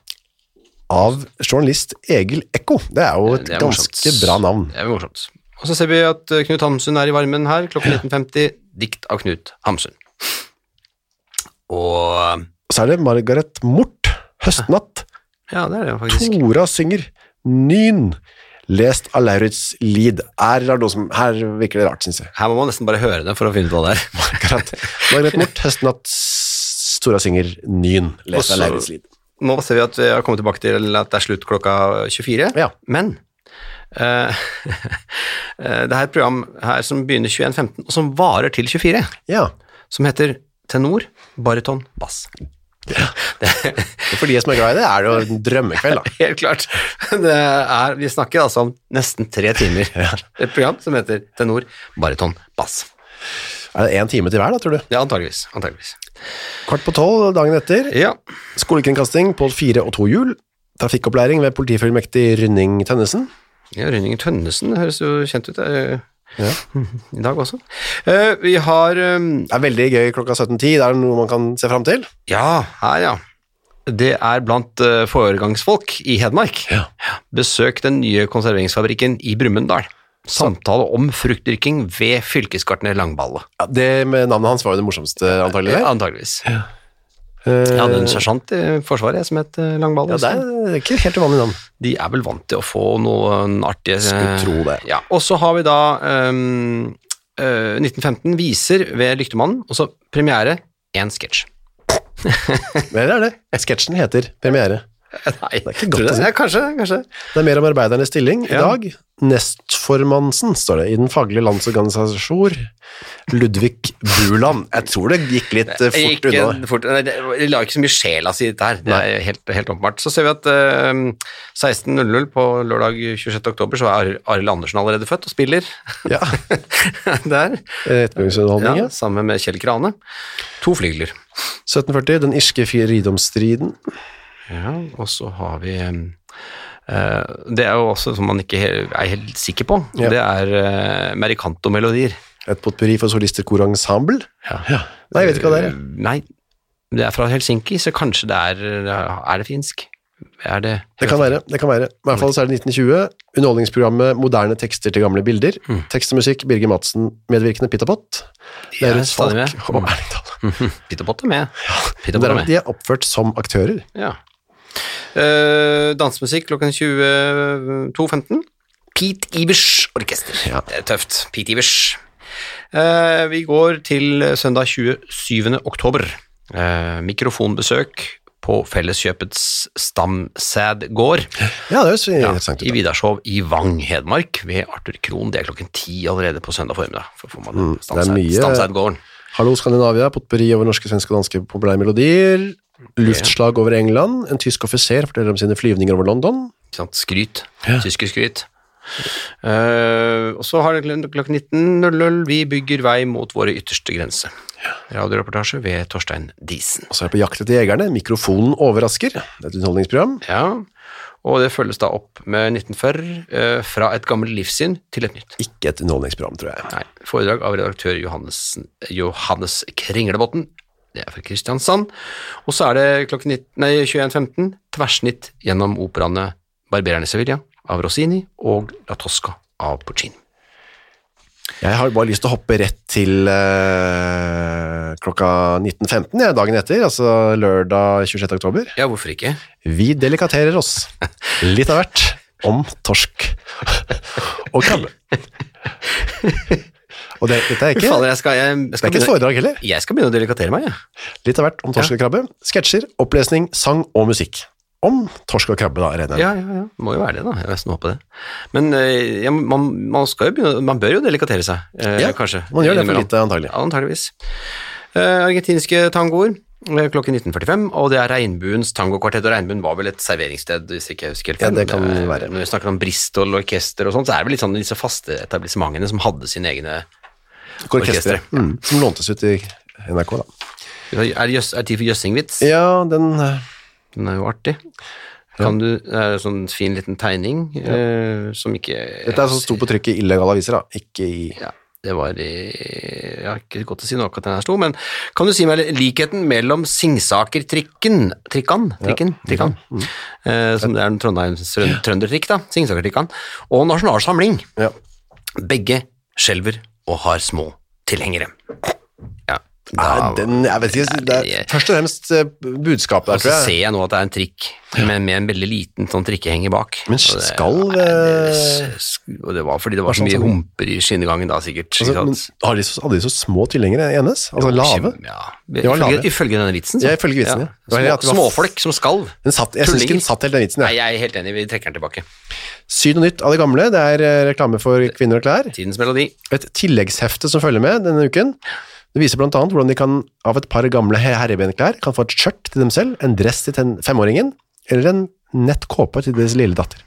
Speaker 1: Av journalist Egil Ekko. Det er jo et
Speaker 2: Det er
Speaker 1: ganske
Speaker 2: morsomt.
Speaker 1: bra navn.
Speaker 2: Det er morsomt. Og så ser vi at eh, Knut Hamsun er i varmen her klokken 1950. Dikt av Knut Hamsun. Og
Speaker 1: Og så er det Margaret Mort, Høstnatt,
Speaker 2: Ja, det er det faktisk.
Speaker 1: Tora synger, Nyn, lest av Lauritz Lid. Her, er det noe som, her virker det rart, synes jeg. <laughs>
Speaker 2: Her må man nesten bare høre det for å finne ut hva det er.
Speaker 1: Akkurat. Margaret Mort, Høstnatt, s- Tora synger, Nyn, lest
Speaker 2: Også-
Speaker 1: av Lauritz Lid.
Speaker 2: Nå ser vi at vi har kommet tilbake til at det er slutt klokka 24.
Speaker 1: Ja.
Speaker 2: Men eh, <laughs> eh, det er et program her som begynner 21.15, og som varer til 24,
Speaker 1: Ja,
Speaker 2: som heter Tenor, baryton, bass. <laughs> Det er
Speaker 1: for de som er glad i det, er det jo en drømmekveld da.
Speaker 2: helt klart. Det er, vi snakker altså om nesten tre timer. Et program som heter Tenor, baryton, bass.
Speaker 1: Er det en time til hver da, tror du?
Speaker 2: Ja, antageligvis. antageligvis.
Speaker 1: Kvart på tolv dagen etter,
Speaker 2: Ja,
Speaker 1: Skolekringkasting på fire og to hjul. Trafikkopplæring ved politifullmektig Rynning Tønnesen.
Speaker 2: ja Rønningen Tønnesen høres jo kjent ut. eh,
Speaker 1: Ja.
Speaker 2: <laughs> I dag også. Eh, vi har eh,
Speaker 1: Det er veldig gøy klokka 17.10. Det er noe man kan se fram til.
Speaker 2: Ja, her ja. Det er blant eh, foregangsfolk i Hedmark.
Speaker 1: Ja.
Speaker 2: Besøk den nye konserveringsfabrikken i Brumunddal. Samtale om fruktdyrking ved fylkesgartner Langballe. Eh,
Speaker 1: Ja, det med navnet hans var jo det morsomste, antagelig. det.
Speaker 2: Antageligvis.
Speaker 1: Eh,
Speaker 2: Jeg hadde en sersjant i Forsvaret jeg, som het eh, Langballe.
Speaker 1: Ja, det er ikke et helt uvanlig navn.
Speaker 2: De er vel vant til å få noen artige eh,
Speaker 1: Skulle tro det.
Speaker 2: Ja. Og så har vi da ehm, eh, 1915 viser ved Lyktemannen, og så premiere én sketsj.
Speaker 1: Men det er det. Sketsjen heter Premiere.
Speaker 2: <laughs> Nei, det
Speaker 1: er ikke godt å si.
Speaker 2: Ja, kanskje, kanskje.
Speaker 1: Det er mer om arbeidernes stilling i
Speaker 2: Ja.
Speaker 1: dag. Nestformannsen, står det, i den faglige landsorganisasjon, Ludvig Buland. Jeg tror det gikk litt eh, fort
Speaker 2: Ikke
Speaker 1: unna.
Speaker 2: fort, nei, det- det la ikke så mye sjela si dette her, det er helt, helt åpenbart. Så ser vi at eh, 16.00 på lørdag 26. oktober så er Ar- Arild Andersen allerede født og spiller <laughs>
Speaker 1: Ja,
Speaker 2: der.
Speaker 1: Ettergangsunderholdning,
Speaker 2: Ja,
Speaker 1: ja.
Speaker 2: sammen med Kjell Krane. To flygler.
Speaker 1: 1740, den irske fridomsstriden.
Speaker 2: Ja, og så har vi eh, eh, Det er jo også som man ikke he- er helt sikker på,
Speaker 1: Ja.
Speaker 2: det er uh, Mericanto-melodier.
Speaker 1: Et potpurri for solister kor og ensemble?
Speaker 2: Ja.
Speaker 1: Nei, jeg vet ikke hva det er. jeg.
Speaker 2: Eh, Nei, det er fra Helsinki, så kanskje det er Er det finsk? Er det
Speaker 1: Det kan være. det kan være. I hvert fall så er det 1920. Underholdningsprogrammet Moderne tekster til gamle bilder.
Speaker 2: Mm.
Speaker 1: Tekst og musikk Birger Madsen, medvirkende Pittapott.
Speaker 2: Ja,
Speaker 1: Lauritz Falk
Speaker 2: stadig med.
Speaker 1: og Erling Dahl.
Speaker 2: Pitterpott er med. Pitterpott er
Speaker 1: Derav at
Speaker 2: med.
Speaker 1: de er oppført som aktører.
Speaker 2: Ja. Eh, dansemusikk klokken 22.15. Pete Ivers orkester.
Speaker 1: Ja.
Speaker 2: Det er tøft. Pete Ivers. Eh, vi går til søndag 27. oktober. Eh, mikrofonbesøk på Felleskjøpets Stamsæd gård
Speaker 1: Ja, det høres
Speaker 2: ja,
Speaker 1: interessant
Speaker 2: i
Speaker 1: ut. da.
Speaker 2: Vidarshov i Vang, Hedmark, ved Arthur Krohn. Det er klokken ti allerede på søndag formiddag. For får man
Speaker 1: Mm, det er
Speaker 2: Stamsæd-
Speaker 1: mye-
Speaker 2: Stamsædgården.
Speaker 1: Hallo Skandinavia, potpurri over norske, svenske og danske populære melodier. Luftslag over England. En tysk offiser forteller om sine flyvninger over London.
Speaker 2: Ikke sant? Skryt. Tysker skryt. Eh, og så har det klok- klokken 19.00 Vi bygger vei mot våre ytterste grense. Radioreportasje ved Torstein Disen.
Speaker 1: Og så er det På jakt etter jegerne. Mikrofonen overrasker. Et underholdningsprogram.
Speaker 2: Ja, og det følges da opp med 1940 eh, fra et gammelt livssyn til et nytt.
Speaker 1: Ikke et underholdningsprogram, tror jeg.
Speaker 2: Nei, foredrag av redaktør Johannes, Johannes Kringlebotn. Det er fra Kristiansand. Og så er det klokken 19 nei, 21.15 tverrsnitt gjennom operaene Barbereren i Sevilla av Rossini og La Tosca av Puccini.
Speaker 1: Jeg har bare lyst til å hoppe rett til eh, klokka 19.15, jeg, dagen etter, altså lørdag 26. oktober.
Speaker 2: Ja, hvorfor ikke?
Speaker 1: Vi delikaterer oss litt av hvert om torsk og krabbe. Og det, dette er
Speaker 2: Fy
Speaker 1: ikke,
Speaker 2: fader, jeg skal, jeg, jeg,
Speaker 1: det er
Speaker 2: skal
Speaker 1: ikke et
Speaker 2: begynne,
Speaker 1: foredrag heller.
Speaker 2: jeg skal begynne å delikatere meg, jeg.
Speaker 1: Litt av hvert om torsk og krabbe. Sketsjer, opplesning, sang og musikk. Om torsk og krabbe, da, regner jeg med.
Speaker 2: Ja, ja, ja. Må jo være det, da. Jeg nesten håper det. Men eh, ja, man, man, skal jo begynne, man bør jo delikatere seg, eh,
Speaker 1: Ja,
Speaker 2: kanskje.
Speaker 1: Man gjør det for
Speaker 2: innimellom.
Speaker 1: lite, antagelig.
Speaker 2: Ja, antageligvis. Eh, argentinske tangoer eh, klokken 19.45, og det er Regnbuens tangokvartett. Og Regnbuen var vel et serveringssted, hvis ikke jeg husker helt
Speaker 1: Ja,
Speaker 2: feil,
Speaker 1: det
Speaker 2: men,
Speaker 1: kan
Speaker 2: eh,
Speaker 1: være.
Speaker 2: Når vi snakker om Bristol orkester og sånt, så er det vel litt sånn disse faste etablissementene som hadde sine egne
Speaker 1: Orkestret,
Speaker 2: orkestret.
Speaker 1: mm, som låntes ut i NRK, da.
Speaker 2: Er det jøss- er det tid for jøssingvits?
Speaker 1: Ja, den eh,
Speaker 2: Den er jo artig. Kan du, det er en sånn fin liten tegning eh, som ikke
Speaker 1: Dette er som sto på trykk i illegale aviser, da. Ikke i
Speaker 2: ja, Det var i Jeg har ikke godt å si noe akkurat den her sto, men kan du si meg likheten mellom Singsaker-trikken Trikkan? Trikken? Trikkan. Eh, som det er en Trondheims trøn- trøndertrikk, da. Singsaker-trikkan. Og Nasjonal Samling.
Speaker 1: Ja.
Speaker 2: Begge skjelver og har små tilhengere. Ja.
Speaker 1: Nei, den, jeg vet ikke, det er først og fremst eh, budskapet
Speaker 2: Og
Speaker 1: der,
Speaker 2: så
Speaker 1: tror
Speaker 2: Altså, ser
Speaker 1: jeg.
Speaker 2: jeg nå at det er en trikk, men med en veldig liten sånn trikkehenger bak.
Speaker 1: Men
Speaker 2: Og det-
Speaker 1: skal,
Speaker 2: Nei, det,
Speaker 1: eh,
Speaker 2: s- og det var fordi det var
Speaker 1: sånn
Speaker 2: så mye
Speaker 1: som-
Speaker 2: humper i skinnegangen da, sikkert. ikke
Speaker 1: Altså,
Speaker 2: sant?
Speaker 1: men, har, de så, hadde de så små tilhengere i NS? Altså lave?
Speaker 2: Kjem- Ja.
Speaker 1: var
Speaker 2: Ifølge,
Speaker 1: lave.
Speaker 2: ifølge denne vitsen. så.
Speaker 1: Ja, ifølge vitsen, ja. Det var
Speaker 2: Små,
Speaker 1: at det var-
Speaker 2: småfolk som skalv.
Speaker 1: Den satt, jeg syns ikke
Speaker 2: Tullinger.
Speaker 1: den satt helt den vitsen.
Speaker 2: Nei,
Speaker 1: Jeg.
Speaker 2: jeg er helt enig, vi trekker den tilbake.
Speaker 1: Syd og nytt av det gamle, det er eh, reklame for kvinner og klær.
Speaker 2: Tidens melodi.
Speaker 1: Et tilleggshefte som følger med denne uken. Det viser blant annet hvordan de kan, av et par gamle he- herrebenklær kan få et skjørt til dem selv, en dress til ten, femåringen, eller en nett kåpe til deres lille datter.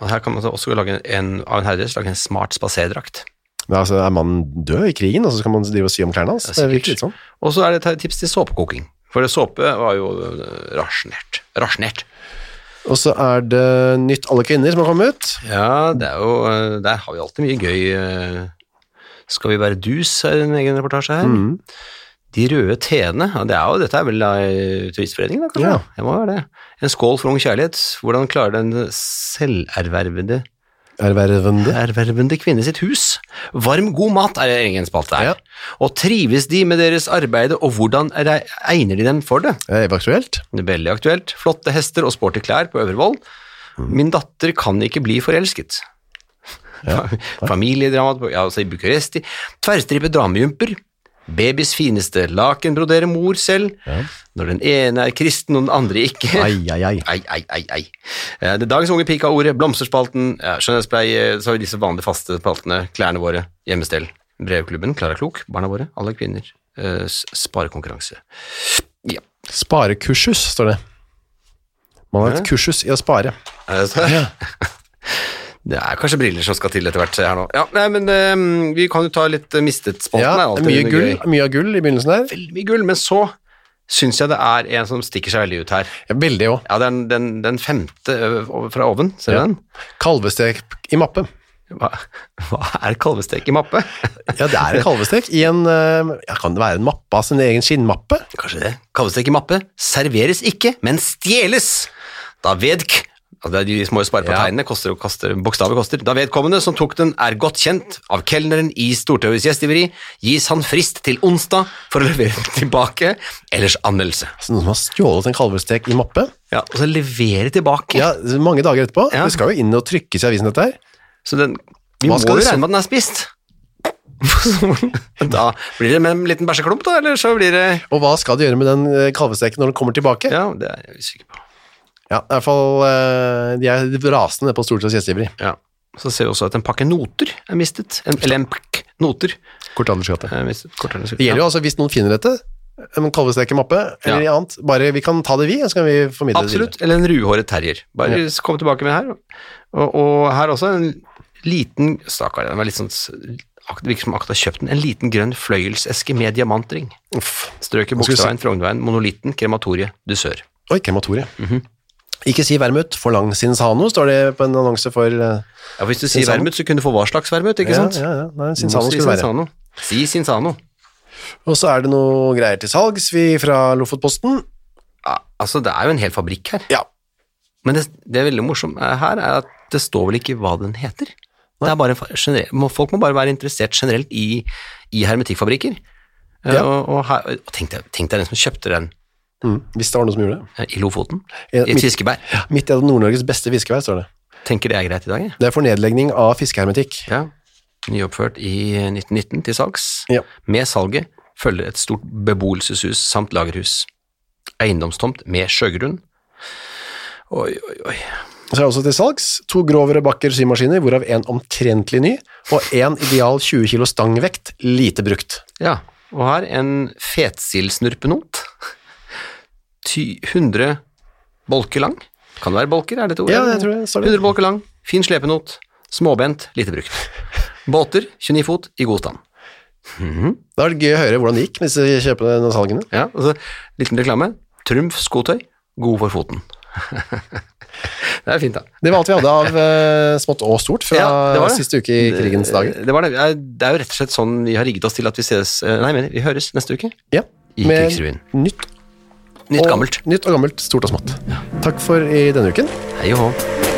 Speaker 2: Og her kan man så også lage en, av en herredress lage en smart spaserdrakt.
Speaker 1: Men altså, er mannen død i krigen, og så skal man drive og sy om klærne hans?
Speaker 2: Ja,
Speaker 1: Det
Speaker 2: sikkert.
Speaker 1: virker litt sånn.
Speaker 2: Og så er det et tips til såpekoking. For såpe var jo eh, rasjonert. Rasjonert.
Speaker 1: Og så er det Nytt alle kvinner som har kommet ut.
Speaker 2: Ja, det er jo, eh, der har vi alltid mye gøy. eh. Skal vi være dus, er en egen reportasje her.
Speaker 1: Mm.
Speaker 2: De røde teene, ja, det er jo, dette er vel eh, turistforeningen da, kanskje?
Speaker 1: Ja.
Speaker 2: Ja. Det må være det. En skål for ung kjærlighet. Hvordan klarer den selververvede
Speaker 1: Ervervende.
Speaker 2: ervervende kvinne sitt hus. Varm, god mat er det egen spalte her.
Speaker 1: Ja.
Speaker 2: Og trives de med deres arbeid, og hvordan er det, egner de dem for det?
Speaker 1: Det var aktuelt.
Speaker 2: Det er Veldig aktuelt. Flotte hester og sporty klær på Øvrevoll. Min datter kan ikke bli forelsket. <laughs> Familiedrama på- ja, altså i Bucuresti. Tverrstrippet damejumper. Babys fineste laken broderer mor selv. Når den ene er kristen og den andre ikke. <laughs>
Speaker 1: Ai, ai, ai.
Speaker 2: Ei, ei, ei, ei. Eh, Det er dagens unge pike av ordet, blomsterspalten, ja, skjønnhetspleie, så har vi disse vanlige faste spaltene, klærne våre, hjemmestell, brevklubben, Klara Klok, barna våre, alle kvinner, eh, s- sparekonkurranse. Ja.
Speaker 1: Sparekursus, står det. Man har et kursus i å spare.
Speaker 2: Eh, så- <laughs> Det er kanskje briller som skal til etter hvert her nå. Ja, nei, men eh, vi kan jo ta litt eh, mistet-spalten.
Speaker 1: Ja,
Speaker 2: er alltid
Speaker 1: mye
Speaker 2: noe
Speaker 1: gull,
Speaker 2: gøy.
Speaker 1: mye av gull i begynnelsen der.
Speaker 2: Veldig mye gull, men så synes jeg det er en som stikker seg veldig ut her.
Speaker 1: Ja, Veldig òg.
Speaker 2: Ja, det er den, den, den femte ø, over- fra oven, ser du
Speaker 1: Ja.
Speaker 2: den?
Speaker 1: Kalvestek i mappe.
Speaker 2: Hva, <laughs> hva er kalvestek i
Speaker 1: <laughs>
Speaker 2: mappe?
Speaker 1: Ja, det er en kalvestek i en eh, ja, Kan det være en mappe av sin egen skinnmappe?
Speaker 2: Kanskje det. Kalvestek i mappe serveres ikke, men stjeles. Da vedk altså det er De små spare på
Speaker 1: Ja.
Speaker 2: tegnene koster og koster, bokstaver koster. Da vedkommende som tok den er godt kjent av kelneren i Stortøyets gjestgiveri, gis han frist til onsdag for å levere <laughs> den tilbake, ellers anmeldelse.
Speaker 1: Altså, noen som har stjålet en kalvestek i mappe?
Speaker 2: Ja, og så levere tilbake.
Speaker 1: Ja, Mange dager etterpå.
Speaker 2: Ja.
Speaker 1: Det skal jo inn og trykkes i avisen, dette her.
Speaker 2: Så den, vi
Speaker 1: Hva
Speaker 2: må
Speaker 1: skal
Speaker 2: jo
Speaker 1: det så-
Speaker 2: regne med at den er spist. <laughs> da blir det med en liten bæsjeklump, da, eller så blir det
Speaker 1: Og hva skal de gjøre med den eh, kalvesteken når den kommer tilbake? Ja,
Speaker 2: Ja, det er jeg usikker på.
Speaker 1: i hvert fall eh, De er rasende på Stortingets gjestgiveri.
Speaker 2: Ja. Så ser vi også at en pakke noter er mistet. En, eller en pakk noter
Speaker 1: Kort aldersgate.
Speaker 2: er mistet. Kortere enn jeg skulle-
Speaker 1: Det gjelder jo altså hvis noen finner dette, en kalvestek i mappe eller
Speaker 2: Ja.
Speaker 1: annet. Bare vi kan ta det, vi, og så kan vi
Speaker 2: Ja,
Speaker 1: formidle det videre.
Speaker 2: absolutt. Eller en ruhåret terrier. Bare kom tilbake med her. Og, og her også en liten Stakkar, den var litt sånn s- ak- virker som akkurat har kjøpt den. En liten grønn fløyelseske med diamantring.
Speaker 1: Uff.
Speaker 2: Strøket
Speaker 1: Hva skal vi si?
Speaker 2: Bogstadveien, Frognerveien, Monolitten, Krematoriet, Dusør.
Speaker 1: Oi, krematoriet.
Speaker 2: Mhm.
Speaker 1: Ikke si vermut, forlang sinsano, står det på en annonse for eh,
Speaker 2: Ja, hvis du sier
Speaker 1: Sinsano.
Speaker 2: vermut, så kunne du få hva slags vermut, ikke sant?
Speaker 1: Ja, ja, ja. Nei,
Speaker 2: Du må
Speaker 1: sinsano
Speaker 2: si
Speaker 1: skulle det være.
Speaker 2: Sinsano. Si Sinsano.
Speaker 1: Og så er det noe greier til salgs, vi fra Lofotposten.
Speaker 2: Ja, altså, det er jo en hel fabrikk her.
Speaker 1: Ja.
Speaker 2: Men det, det er veldig morsomt her er at det står vel ikke hva den heter. Det er bare en fa- generell- må- Folk må bare være interessert generelt i, i hermetikkfabrikker. Eh,
Speaker 1: Ja.
Speaker 2: Og, og, her, og tenk, deg, tenk deg den som kjøpte den
Speaker 1: Mm, hvis det var noen som gjorde det.
Speaker 2: eh, i Lofoten,
Speaker 1: Ja,
Speaker 2: i et
Speaker 1: mitt-
Speaker 2: fiskebær.
Speaker 1: Midt i Nord-Norges beste fiskevær, står det.
Speaker 2: Tenker det er greit i dag, jeg.
Speaker 1: Det er for nedlegging av fiskehermetikk.
Speaker 2: Ja. Nyoppført i 1919 til salgs.
Speaker 1: Ja.
Speaker 2: Med salget følger et stort beboelseshus samt lagerhus. Eiendomstomt med sjøgrunn. Oi, oi, oi.
Speaker 1: Så er det også til salgs to grovere bakker symaskiner, hvorav en omtrentlig ny, og en ideal 20 kilo stangvekt, lite brukt.
Speaker 2: Ja, og her en fetsildsnurpenot. Ty- 100 bolker lang. Kan det være bolker, er dette ordet?
Speaker 1: Ja, jeg tror det står det.
Speaker 2: 100 bolker lang, fin slepenot, småbent, lite brukt. Båter, 29 fot, i god stand.
Speaker 1: Da er det gøy å høre hvordan det gikk med disse kjøpene og salgene.
Speaker 2: Ja, altså, liten reklame. Trumf skotøy, god for foten. <laughs> det er fint, da.
Speaker 1: Det var alt vi hadde av eh, smått og stort fra
Speaker 2: Ja, det var det.
Speaker 1: siste uke i krigens dager.
Speaker 2: Eh, Det, var det. det er jo rett og slett sånn vi har rigget oss til at vi ses eh, Nei, men vi høres neste uke.
Speaker 1: Ja,
Speaker 2: I
Speaker 1: med
Speaker 2: krigsrevyen.
Speaker 1: nytt
Speaker 2: Nytt
Speaker 1: og,
Speaker 2: gammelt.
Speaker 1: Nytt og gammelt, stort og smått. Takk for i denne uken.
Speaker 2: Hei og hå.